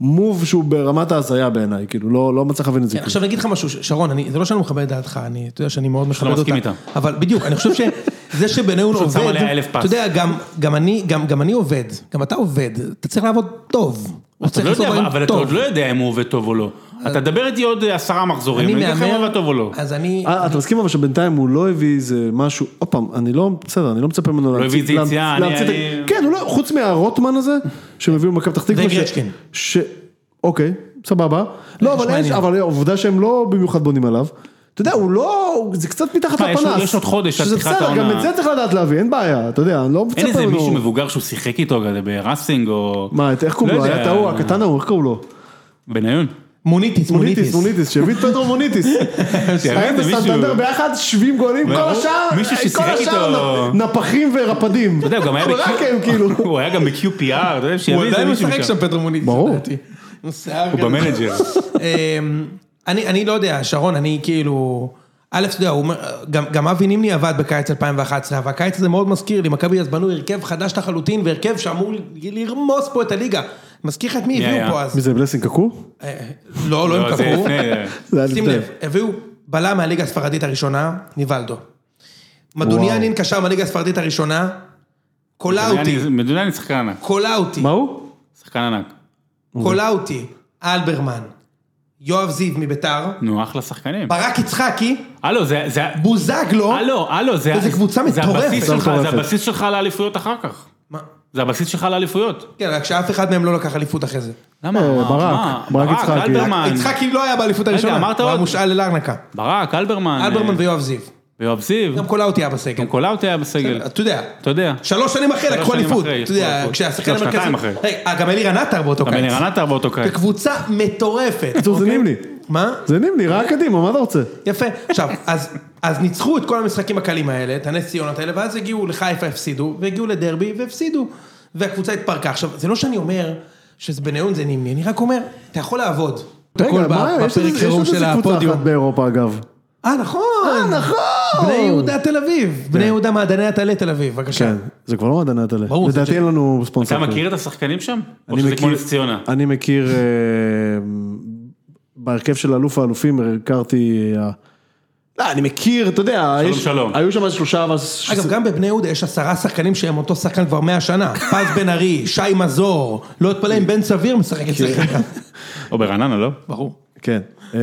מוב שהוא ברמת ההזיה בעיניי, כאילו, לא, לא מצליח להבין את זה. כן, עכשיו אני אגיד לך משהו, ש- שרון, אני- זה לא שאני לא מכבד את דעתך, אני, אתה יודע שאני מאוד מכבד אותה. מסכים איתה. אבל בדיוק, אני חושב שזה שבניון עובד, שם עליה אלף פס. אתה יודע, גם- גם אני- גם גם אני עובד, גם אתה עובד, אתה צריך לעבוד טוב. הוא אתה צריך לא לעשות יודע, דברים אבל אתה טוב. עוד לא יודע אם הוא עובד טוב או לא. אתה תדבר איתי עוד עשרה מחזורים, אני אני אגיד לך אם הוא עובד טוב או מהמר, לא. אז אני... אה, אתה מסכים אבל שבינתיים הוא לא הביא איזה משהו, עוד פעם, אני לא, בסדר, אני לא מצפה ממנו להמציא, הביא איזה להמצ- יציאה, אני- להמציא את ה- אני- כן, הוא לא, חוץ מהרוטמן הזה, שהם הביאו ממכבי פתח תקווה, ש- וגרצ'קין. ש... אוקיי, סבבה, לא, אבל אין, מעניין. אבל העובדה שהם לא במיוחד בונים עליו, אתה יודע, הוא לא, הוא- זה קצת מתחת תשמע, יש עוד- לפנס, יש עוד חודש עד שזה פתיחת בסדר, גם העונה. את זה צריך לדעת להביא, אין בעיה, אתה יודע, אני לא מצפה אין ממנו, איזה מישהו מבוגר שהוא שיחק איתו כזה בראסינג או... מה, את- איך קוראים לא לו, היה יודע, את ההוא, הקטן ההוא, איך קוראים לו, בניון. מוניטיס, מוניטיס, מוניטיס. מוניטיס, שהביא את פדרו מוניטיס. שניהם מישהו- בסנטנדר ביחד 70 גולים, כל ברור. השאר, מישהו כל ששיחק השאר איתו. נ- נפחים ורפדים. אתה יודע, הוא גם היה אבל בקיו- רק הם כאילו. הוא היה גם ב-QPR, אתה יודע, הוא שיביא איזה עדיין מישהו משחק משם. שם פטרו מוניטיס, ברור. לדעתי. הוא שיער הוא גדול. במנג'ר. אמ, אני, אני לא יודע, שרון, אני כאילו... א', אתה יודע, הוא אומר, גם, גם אבי נימני עבד בקיץ 2011, והקיץ הזה מאוד מזכיר לי, מכבי אז בנו הרכב חדש לחלוטין, והרכב שאמור ל- לרמוס פה את הליגה. מזכיר לך את מי הביאו היה? פה מי אז? זה בלסינג קקו? אה, לא, לא הם לא, זה קבעו. לפני, זה היה שים לפני. לב, הביאו בלם מהליגה הספרדית הראשונה, ניבלדו. מדוניאנין קשר מהליגה הספרדית הראשונה, קולאוטי, מדוניאני שחקן ענק. קולאוטי, מה הוא? שחקן ענק. קולאוטי, אלברמן, יואב זיו מביתר, נו, אחלה שחקנים. ברק יצחקי, הלו, זה... זה- בוזגלו, הלו, הלו, זה... איזה קבוצה מטורפת. זה הבסיס שלך, זה מטורפת. הבסיס שלך לאליפויות אחר כך. מה? זה הבסיס שלך לאליפויות. כן, רק שאף אחד מהם לא לקח אליפות אחרי זה. למה? אה, מה? ברק, מה? ברק יצחקי. אלברמן. יצחקי לא היה באליפות הראשונה, אמרת הוא היה עוד? אה, מושאל לארנקה. ברק, אלברמן. אלברמן אה, ויואב זיו. ויואב זיו. גם קולאוטי היה בסגל. גם קולאוט היה בסגל. אתה יודע. אתה יודע. שלוש שנים אחרי שלוש לקחו שנים אליפות. אחרי, אתה יודע, לקחו כשהשחקן אליפות. המרכזי... שנתיים אחרי. רגע, אה, גם אלירן עטר באותו גם קיץ. אלירן עטר באותו קיץ. בקבוצה מטורפת. בקיצור, זה אוקיי? נימני. מה? זה נימני, ראה קדימה, מה אתה רוצה? יפה. עכשיו, אז- אז ניצחו את כל המשחקים הקלים האלה, את הנס ציונות האלה, ואז הגיעו לחיפה, הפסידו, והגיעו לדרבי, והפסידו. והקבוצה התפרקה. עכשיו, זה לא שאני אומר שבניון זה נימני, אני רק אומר, אתה יכול לעבוד. הכל רגע, מה, בפרק יש איזה- יש חירום עוד של איזה קבוצה הפודיום. אחת באירופה אגב. אה, נכון. נכון! בני יהודה תל אביב. בני יהודה מעדני עטלה תל אביב, בבקשה. כן, זה כבר לא מעדני הטלה. ברור, זה לדעתי ש- אין לנו ספונסר. אתה כזה. מכיר את השחקנים שם? או אני שזה כמו מכיר- נס ציונה? אני מכיר, אה, בהרכב של אלוף האלופים הכרתי, אה, לא, אני מכיר, אתה יודע, שלום, יש- שלום. היו שם איזה שלושה, אבל... ש- אגב, גם בבני יהודה יש עשרה שחקנים שהם אותו שחקן כבר מאה שנה. פז בן ארי, שי מזור, לא אתפלא אם בן סביר משחק אצלך. או ברעננה, לא? ברור. כן. אה,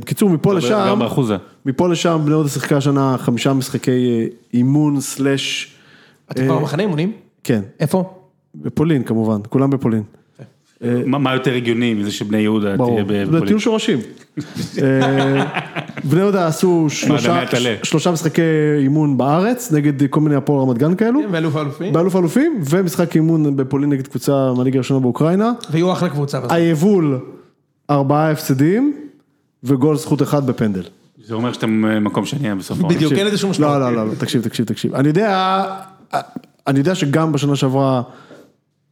בקיצור, מפה לשם, גם באחוזה. מפה לשם בני יהודה שיחקה השנה חמישה משחקי אה, אימון סלאש, אתה אה. כבר במחנה אימונים? כן, איפה? בפולין כמובן, כולם בפולין. מה מה יותר הגיוני מזה שבני יהודה ברור, תהיה זה בפולין? טיול שורשים. אה, בני יהודה עשו שלושה, מעדני הטלה. שלושה משחקי אימון בארץ, נגד כל מיני הפועל רמת גן כאלו, ואלוף האלופים? באלוף האלופים, ומשחק אימון בפולין נגד קבוצה מהליגה הראשונה באוקראינה. ויהיו אחלה קבוצה. בסוף. היבול, ארבעה הפסדים, וגול זכות אחד בפנדל. זה אומר שאתם אה, מקום שני בסוף. העונה. בדיוק, כן, אין לזה שום משמעות. לא, לא, לא, לא, תקשיב, תקשיב, תקשיב. אני יודע, אני יודע שגם בשנה שעברה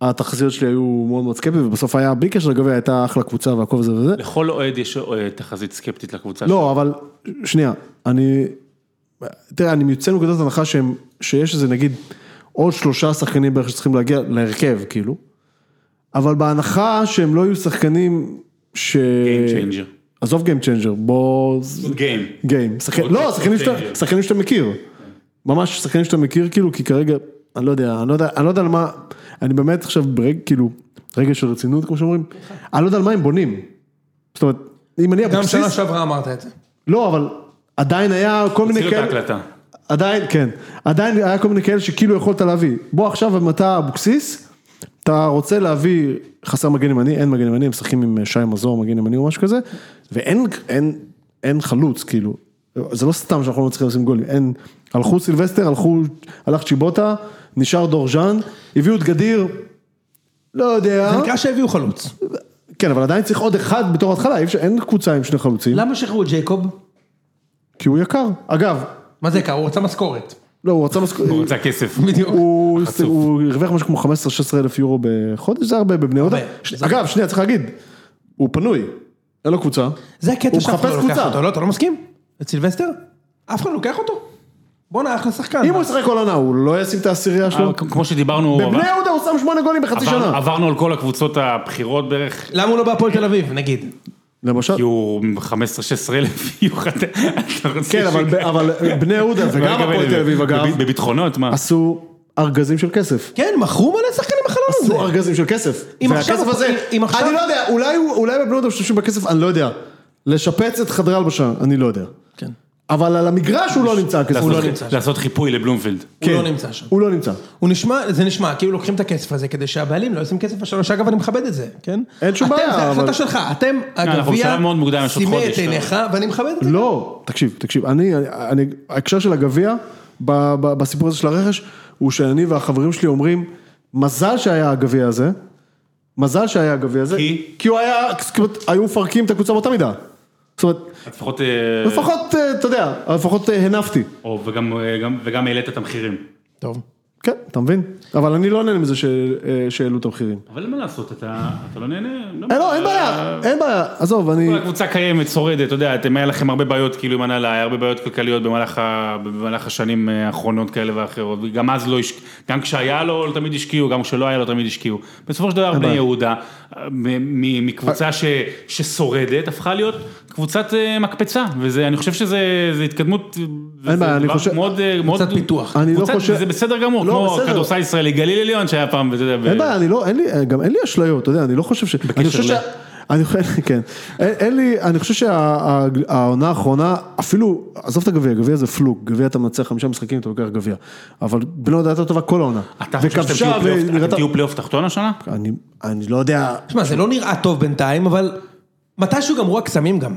התחזיות שלי היו מאוד מאוד סקפטיות, ובסוף היה, בלי קשר לגביע, הייתה אחלה קבוצה והכל זה וזה. לכל אוהד יש אה, תחזית סקפטית לקבוצה שלו. לא, אבל, שנייה, אני, תראה, אני יוצא מנקודת הנחה שהם, שיש איזה נגיד עוד שלושה שחקנים בערך שצריכים להגיע להרכב, כאילו, אבל בהנחה שהם לא יהיו שחקנים ש... Game changer. עזוב גיים צ'יינג'ר, בוא... גיים. גיים. שחק- עוד לא, עוד שחקנים שאתה- צ'יינג'ר. שחקנים שאתה מכיר. ממש שחקנים שאתה מכיר, כאילו, כי כרגע, אני לא יודע, אני לא יודע, אני לא יודע על מה, אני באמת עכשיו ברגע, כאילו, רגע של רצינות, כמו שאומרים, אני לא יודע על מה הם בונים. זאת אומרת, אם אני גם שנה אבוקסיס, שעברה אמרת את זה. לא, אבל עדיין היה כל מיני תצילו את כאלה, ההקלטה. עדיין, כן, עדיין היה כל מיני כאלה שכאילו יכולת להביא. בוא עכשיו, אם אתה אבוקסיס, אתה רוצה להביא חסר מגן ימני, אין מגן ימני, הם משחקים עם אה, שי מזור, מגן ימני או משהו כזה, ואין אין, אין חלוץ, כאילו. זה לא סתם שאנחנו לא מצליחים לשים גולים, אין, הלכו סילבסטר, הלכו, הלך צ'יבוטה, נשאר דורז'אן, הביאו את גדיר, לא זה יודע, נקרא שהביאו חלוץ. כן, אבל עדיין צריך עוד אחד בתור התחלה, אי אפשר- אין קבוצה עם שני חלוצים, למה שחררו את ג'ייקוב? כי הוא יקר. אגב, מה זה קרה? הוא רצה משכורת. לא, הוא רצה משכורת, הוא רוצה כסף. בדיוק. הוא חצוף. הוא הרוויח משהו כמו 15-16 אלף יורו בחודש, זה הרבה בבני יהודה. הרבה. ש- זה אגב, שנייה, צריך להגיד, הוא פנוי, אין לו קבוצה. זה הקטע הוא שאף אחד מחפש לא לוקח קבוצה. אותו, לא? אתה לא מסכים? את סילבסטר? אף אחד לא לוקח אותו? בואנה, אחלה שחקן. אם הוא ישחק כל עונה, הוא לא ישים את העשירייה שלו. אה, אוקיי, כמו שדיברנו, בבני עבר- יהודה הוא שם שמונה גולים בחצי עברנו- שנה. עברנו על כל הקבוצות הבכירות בערך, למה הוא לא בהפועל תל אביב, נגיד? למשל, כי הוא 15-16 אלף יוחד. כן, אבל- אבל בני יהודה לא לא וגם הפועל תל אביב, אגב, בביטחונות, מה? עשו ארגזים של כסף. כן, מכרו מלא שחקנים בחלון הזה. עשו ארגזים של כסף. אם והכסף עכשיו- הזה, אם- אם עכשיו- אני לא יודע, אולי הוא- אולי בבני יהודה משתמשים בכסף, אני לא יודע. לשפץ את חדרי הלבשה, אני לא יודע. כן. אבל על המגרש הוא לא נמצא הכסף. לעשות- לא נמצא שם. לעשות חיפוי לבלומפילד. הוא לא כן, נמצא שם. הוא לא נמצא. הוא נשמע, זה נשמע, כאילו לוקחים את הכסף הזה כדי שהבעלים לא ישים כסף השלוש, אגב אני מכבד את זה, כן? אין שום אתם, בעיה, זה אבל- החלטה שלך, אתם, כן, אנחנו הגביע, בשלב מאוד מוקדם, יש עוד שימא חודש, את לא? עיניך, ואני מכבד את זה. לא, תקשיב, תקשיב, אני, אני, ההקשר של הגביע, ב- ב- בסיפור הזה של הרכש, הוא שאני והחברים שלי אומרים, מזל שהיה הגביע הזה, מזל שהיה הגביע הזה. כי? כי הוא היה, כמעט היו מפרקים את הקבוצה באותה מידה. זאת אומרת, לפחות... אה, לפחות, אה, אתה יודע, לפחות אה, הנפתי. או, וגם, אה, גם- וגם העלית את המחירים. טוב. כן, אתה מבין? אבל אני לא נהנה מזה ש- אה, שהעלו את המחירים. אבל מה לעשות, אתה, אתה לא נהנה? לא אה, לא, אין בעיה, אין בעיה, עזוב, אני... כל הקבוצה קיימת, שורדת, אתה יודע, אתם, היה לכם הרבה בעיות כאילו עם הנהלה, הרבה בעיות כלכליות במהלך, ה, במהלך השנים אה, האחרונות כאלה ואחרות, וגם אז לא, השק... גם כשהיה לו לא תמיד השקיעו, גם כשלא היה לו לא תמיד השקיעו. בסופו של דבר בני יהודה, אה, מ- מ- מקבוצה ש, ששורדת, הפכה להיות קבוצת אה, מקפצה, וזה, אני חושב שזה זה התקדמות, וזה בעיה, אני דבר חושב- מאוד, אה, מאוד, קצת פיתוח. אני לא קבוצת- חושב- זה בסדר גמור, לא, כמו בסדר. כדורסל ישראלי, גליל עליון שהיה פעם, ואתה יודע, ב- אין בעיה, אני לא, אין לי, גם אין לי אשליות, אתה יודע, אני לא חושב ש... אני חושב ש... ל- אני חושב, כן. אין, אין לי, אני חושב שהעונה האחרונה, אפילו, עזוב את הגביע, גביע זה פלוג, גביע אתה מנצח חמישה משחקים, אתה לוקח גביע. אבל בני יהודה הייתה טובה כל העונה. אתה חושב שאתם וכבשה תהיו פלייאוף- ונראתה- אתם תהיו פלייאוף תחתון השנה? אני, אני לא יודע, תשמע, זה לא נראה טוב בינתיים, אבל מתישהו גמרו הקסמים גם.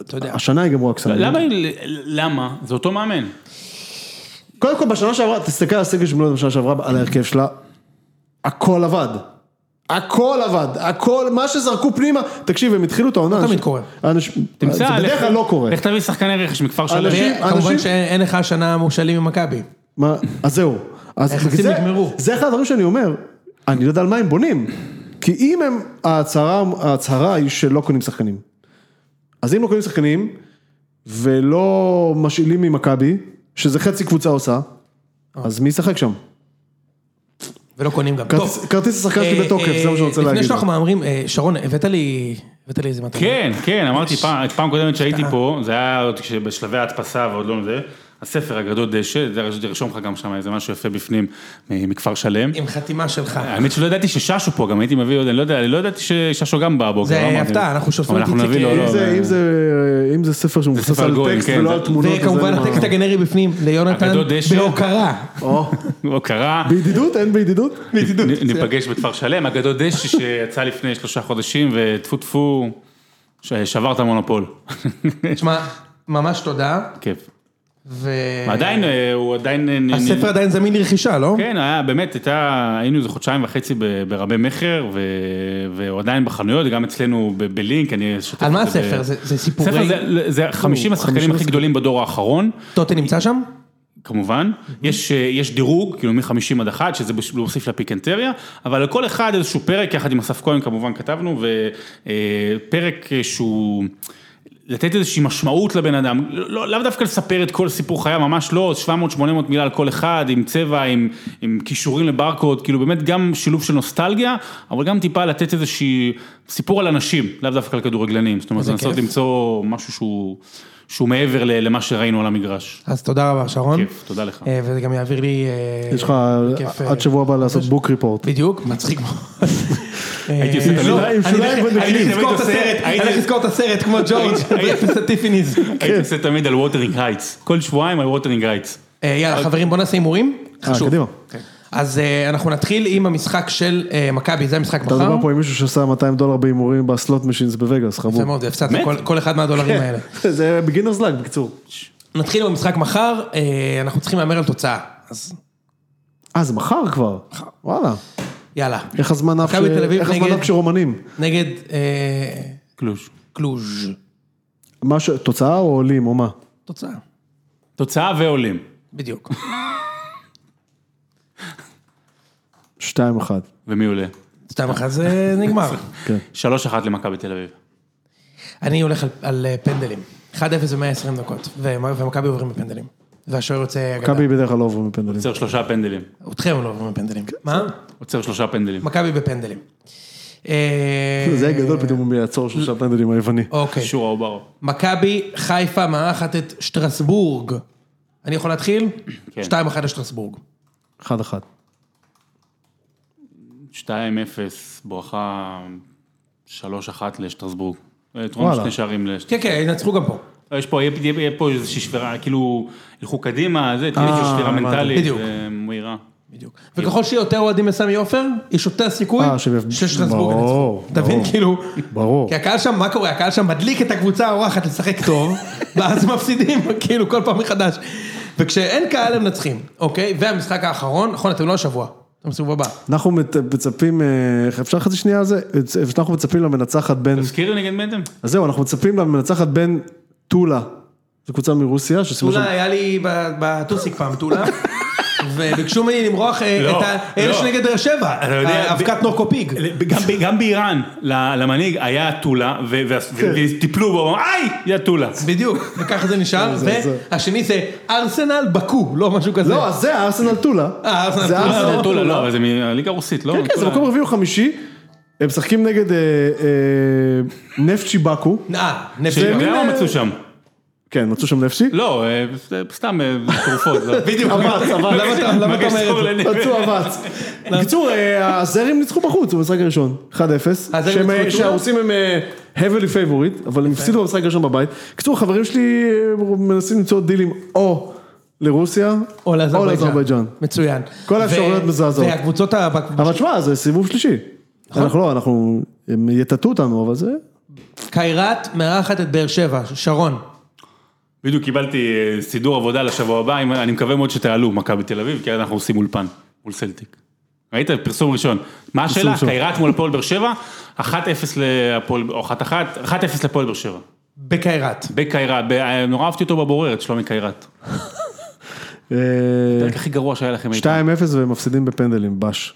אתה יודע. השנה יגמרו הקסמים. למה, למה? זה אותו מאמן. קודם כל בשנה שעברה, תסתכל על הסגל של בני יהודה בשנה שעברה, על ההרכב שלה, הכל עבד. הכל עבד, הכל, מה שזרקו פנימה, תקשיב, הם התחילו את העונה. לא תמיד אנשים- קורה. אנשים- זה תמצא, בדרך לך- כלל לא קורה. לך תביא שחקני רכש מכפר שלם. אנשים- וכמובן אנשים- שאין לך השנה מושאלים ממכבי. מה, אז זהו. אז היחסים בגלל זה- נגמרו. זה אחד הדברים שאני אומר, אני לא יודע על מה הם בונים. כי אם הם, ההצהרה, ההצהרה היא שלא קונים שחקנים. אז אם לא קונים שחקנים, ולא משאילים ממכבי, שזה חצי קבוצה עושה, אז מי ישחק שם? ולא קונים גם. כרטיס- טוב. כרטיס השחקן שלי אה, בתוקף, זה מה שאני רוצה אה, להגיד. לפני שאנחנו מהמרים, אה, שרון, הבאת לי הבאת לי איזה מתנה. כן, כן, אמרתי פעם, פעם קודמת שהייתי אה. פה, זה היה עוד בשלבי ההדפסה ועוד לא זה, הספר הגדול דשא, זה תרשום לך גם שם איזה משהו יפה בפנים מ- מכפר שלם. עם חתימה שלך. האמת שלא ידעתי שששו פה, גם הייתי מביא עוד, אני לא יודע, אני לא ידעתי שששו גם בא הבוקר. זה לא אמרתי. הפתעה, אנחנו שולפים אבל את אנחנו איציק, נביא לו, אה, לא, אם זה- אה, אם זה- אם זה ספר שמבוסס ספר על גויים, טקסט כן, ולא זה- על תמונות, אז וכמובן אין מה- הטקסט הגנרי בפנים, ליונתן, אגדות דשא. בהוקרה. או, הוא קרא, בידידות? אין בידידות? לא, נ- ניפגש בכפר שלם, אגדות דשא שיצא לפני שלושה חודשים, וטפו טפו, ש- שבר את המונופול. תשמע, ממש תודה. כיף. ו... עדיין, אה, הוא עדיין... אה, נ- הספר נ- עדיין זמין לרכישה, לא? כן, היה, באמת, הייתה, היינו איזה חודשיים וחצי ב- ברבי מכר, ו- והוא עדיין בחנויות, גם אצלנו ב- בלינק, אני אשתף על מה את זה הספר? ב- זה- זה סיפורי- ספר זה- זה 50 השחקנים הכי גדולים בדור האחרון, טוטה נמצא שם? כמובן. יש, אה, יש דירוג, כאילו מ-50 עד 1, שזה בש- מוסיף לפיקנטריה, אבל על כל אחד איזשהו פרק, יחד עם אסף כהן כמובן כתבנו, ופרק שהוא... לתת איזושהי משמעות לבן אדם, לא, לאו דווקא לספר את כל סיפור חייו, ממש לא, 700-800 מילה על כל אחד, עם צבע, עם, עם כישורים לברקוד, כאילו באמת גם שילוב של נוסטלגיה, אבל גם טיפה לתת איזושהי סיפור על אנשים, לאו דווקא על כדורגלנים, זאת אומרת, איזה לנסות כיף. למצוא משהו שהוא, שהוא מעבר ל- למה שראינו על המגרש. אז תודה רבה, שרון. כיף, תודה לך. אה, וזה גם יעביר לי... אה, יש לך בכיף, אה, עד שבוע הבא לעשות בוק ריפורט. בדיוק, מצחיק מאוד. הייתי עושה אה, תמיד- לא, עם אני שוליים הולך- ונקלים. אני הולך לזכור את הייתי הסרט, עושה- אני הולך לזכור את הסרט כמו ג'ורג' באפס הטיפיניז. הייתי עושה תמיד על ווטרינג הייטס, כל שבועיים על ווטרינג הייטס. אה, יאללה, חברים, בוא נעשה הימורים. חשוב. אה, קדימה. אז אה, אנחנו נתחיל עם המשחק של אה, מכבי, זה המשחק אתה מחר. מדבר פה עם מישהו שעשה 200 דולר בהימורים בסלוט משינס בווגאס, חמור. יפה מאוד, הפסדת כל- כל אחד כן. מהדולרים האלה. זה בגינרס לג, בקיצור. נתחיל עם המשחק מחר, אה, אנחנו צריכים להמר על תוצאה. אז אה, זה מחר כבר? וואלה. יאללה. איך הזמן אף ש- מכבי תל אביב איך הזמן נגד- אף כשרומנים? נגד אה, קלוש. קלוז'. מה ש- תוצאה או עולים או מה? תוצאה. תוצאה ועולים. בדיוק. 2-1. לא ומי עולה? סתם אחת זה נגמר. שלוש אחת למכבי תל אביב. אני הולך על- על אה, פנדלים. 1-0 ו-120 דקות, ו- ומכבי עוברים בפנדלים. והשוער יוצא אגדה. מכבי בדרך כלל לא עוברים מפנדלים. עוצר שלושה פנדלים. אתכם לא עוברים בפנדלים. כן. מה? עוצר שלושה פנדלים. מכבי בפנדלים. אה, זה היה גדול פתאום הוא יעצור שלושה לא- פנדלים היווני. אוקיי. שורה אוברו. מכבי חיפה מארחת את שטרסבורג. אני יכול להתחיל? כן. 2-1 לשטרסבורג. 1-1. שתיים אפס, בואכה שלוש אחת לשטרסבורג. וואלה. יתרון שני שערים לשטרסבורג. כן, כן, ינצחו גם פה. לא, יש פה, יהיה- יהיה יהיה פה איזושהי שבירה, כאילו, ילכו קדימה, זה, תהיה איזושהי שבירה הבנתי. מנטלית. בדיוק. אה, מהירה. בדיוק. וככל שיותר אוהדים לסמי עופר, יש יותר סיכוי אה, שב- ששטרסבורג ברור, ינצחו. תבין, ברור. כאילו... ברור. כי הקהל שם, מה קורה? הקהל שם מדליק את הקבוצה האורחת לשחק טוב, ואז מפסידים, כאילו, כל פעם מחדש. וכשאין קהל הם מנצחים, אוקיי? והמשחק האחרון, נכון, אתם לא השבוע. אתם לסיבוב הבא. אנחנו מת- מצפים, אה, אפשר חצי שנייה על זה? אה, אנחנו מצפים למנצחת בין, תזכירי נגד מי אתם? אז זהו, אנחנו מצפים למנצחת בין טולה, זו קבוצה מרוסיה, שסיימו שם, טולה היה לי ב- בטוסיק פעם, טולה. וביקשו ממני למרוח אה, לא, את האלה לא. נגד באר שבע, אה, אתה יודע, האבקת ב- נורקופיג. גם, ב- גם באיראן, ל- למנהיג היה אתולה, ו- וה- וטיפלו בו, הוא אמר, איי, יא אתולה. בדיוק, וככה זה נשאר, זה- זה. והשני זה ארסנל בקו, לא משהו כזה. לא, אז זה הארסנל טולה, אה, ארסנל זה טולה. לא, ארסנל לא, טולה, אתולה, לא, אבל זה מהליגה הרוסית, לא? כן, כן, זה אתולה. מקום רביעי או חמישי, הם משחקים נגד אה, אה, נפצ'י באקו, אה, נפש. אתה יודע מין, מה אה, מצאו שם? כן, מצאו שם נפצ'י, לא, אה, זה סתם אה, תרופות. זה- בדיוק, אבץ, אבץ. למה אתה- למה אתה מגש אומר חור את זה? לנפש. מצאו אבץ. לא. בקיצור, אה, הזרים ניצחו בחוץ במשחק הראשון, 1-0. הזרים שהם, ניצחו אה, את שהרוסים הם אה, heavily favorite, אבל הם הפסידו במשחק הראשון בבית. בקיצור, החברים שלי אה, מנסים למצוא דילים או לרוסיה, או לאזרבייג'אן. לאזרבייג'אן. מצוין. כל ו- האפשרויות מזעזעות. והקבוצות, ה- אבל תשמע, זה סיבוב שלישי. נכון. אנחנו לא, אנחנו, הם יטטו אותנו, אבל זה... קיירת מארחת את באר שבע, שרון. בדיוק קיבלתי אה, סידור עבודה לשבוע הבא, אם- אני מקווה מאוד שתעלו מכבי תל אביב, כי אז אנחנו עושים אולפן מול סלטיק. ראית? פרסום ראשון. מה השאלה? ראשון. קיירת מול הפועל באר שבע, 1-0 להפועל, או 1-1, 1-0 לפועל באר שבע. בקיירת. בקיירת, ב- אה, נורא אהבתי אותו בבוררת, שלומי קיירת. אה, הפרק הכי גרוע שהיה לכם אי 2-0 פעם. והם מפסידים בפנדלים, בש.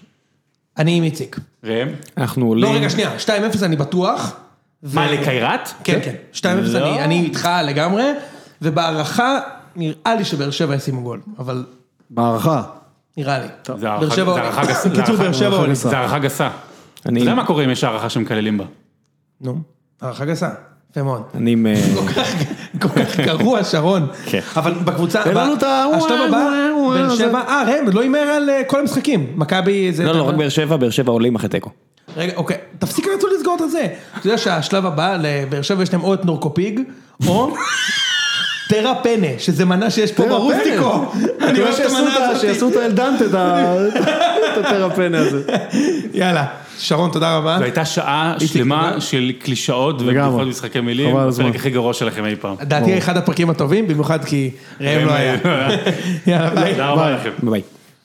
אני עם איציק. ראם? אנחנו עולים. לא, רגע, שנייה, 2-0 אני בטוח. ו- מה, לקיירת? כן, כן. 2-0 לא. אני- אני איתך לגמרי, ובהערכה נראה לי שבאר שבע ישימו גול, אבל בהערכה. נראה לי. זה באר הערכה- שבע זה הערכה גסה. זה קיצור, הערכה- באר שבע הערכה עולים. גסה. זה הערכה גסה. אני- אתה יודע מה קורה אם יש הערכה שמקללים בה? נו, הערכה גסה. יפה מאוד. אני עם... אה, כל כך- כל כך גרוע, שרון. כן. אבל בקבוצה הבאה, לנו את ה- השלב וואי, הבא, וואי, וואי, באר זה- שבע, אה, ראם, לא הימר על אה, כל המשחקים. מכבי זה... לא, לא, רק באר שבע, באר שבע עולים אחרי תיקו. רגע, אוקיי, תפסיק לנסות לסגור את זה. אתה יודע שהשלב הבא, לבאר שבע יש להם או את נורקופיג, או טרה פנה, שזה מנה שיש פה תראה, ברוסטיקו. הפנדל. אני תראה אוהב את כן. שיעשו המנה ה- שיעשו הזאת. את האלדנטה, את ה- את הטרפנה הזה. יאללה, שרון, תודה רבה. זו הייתה שעה תודה. שלמה של קלישאות ובדיחות משחקי מילים, חבל על הזמן. הפרק הכי גרוע שלכם אי פעם. דעתי אחד הפרקים הטובים, במיוחד כי ראם לא היה. יאללה, ביי. תודה רבה לכם. ביי.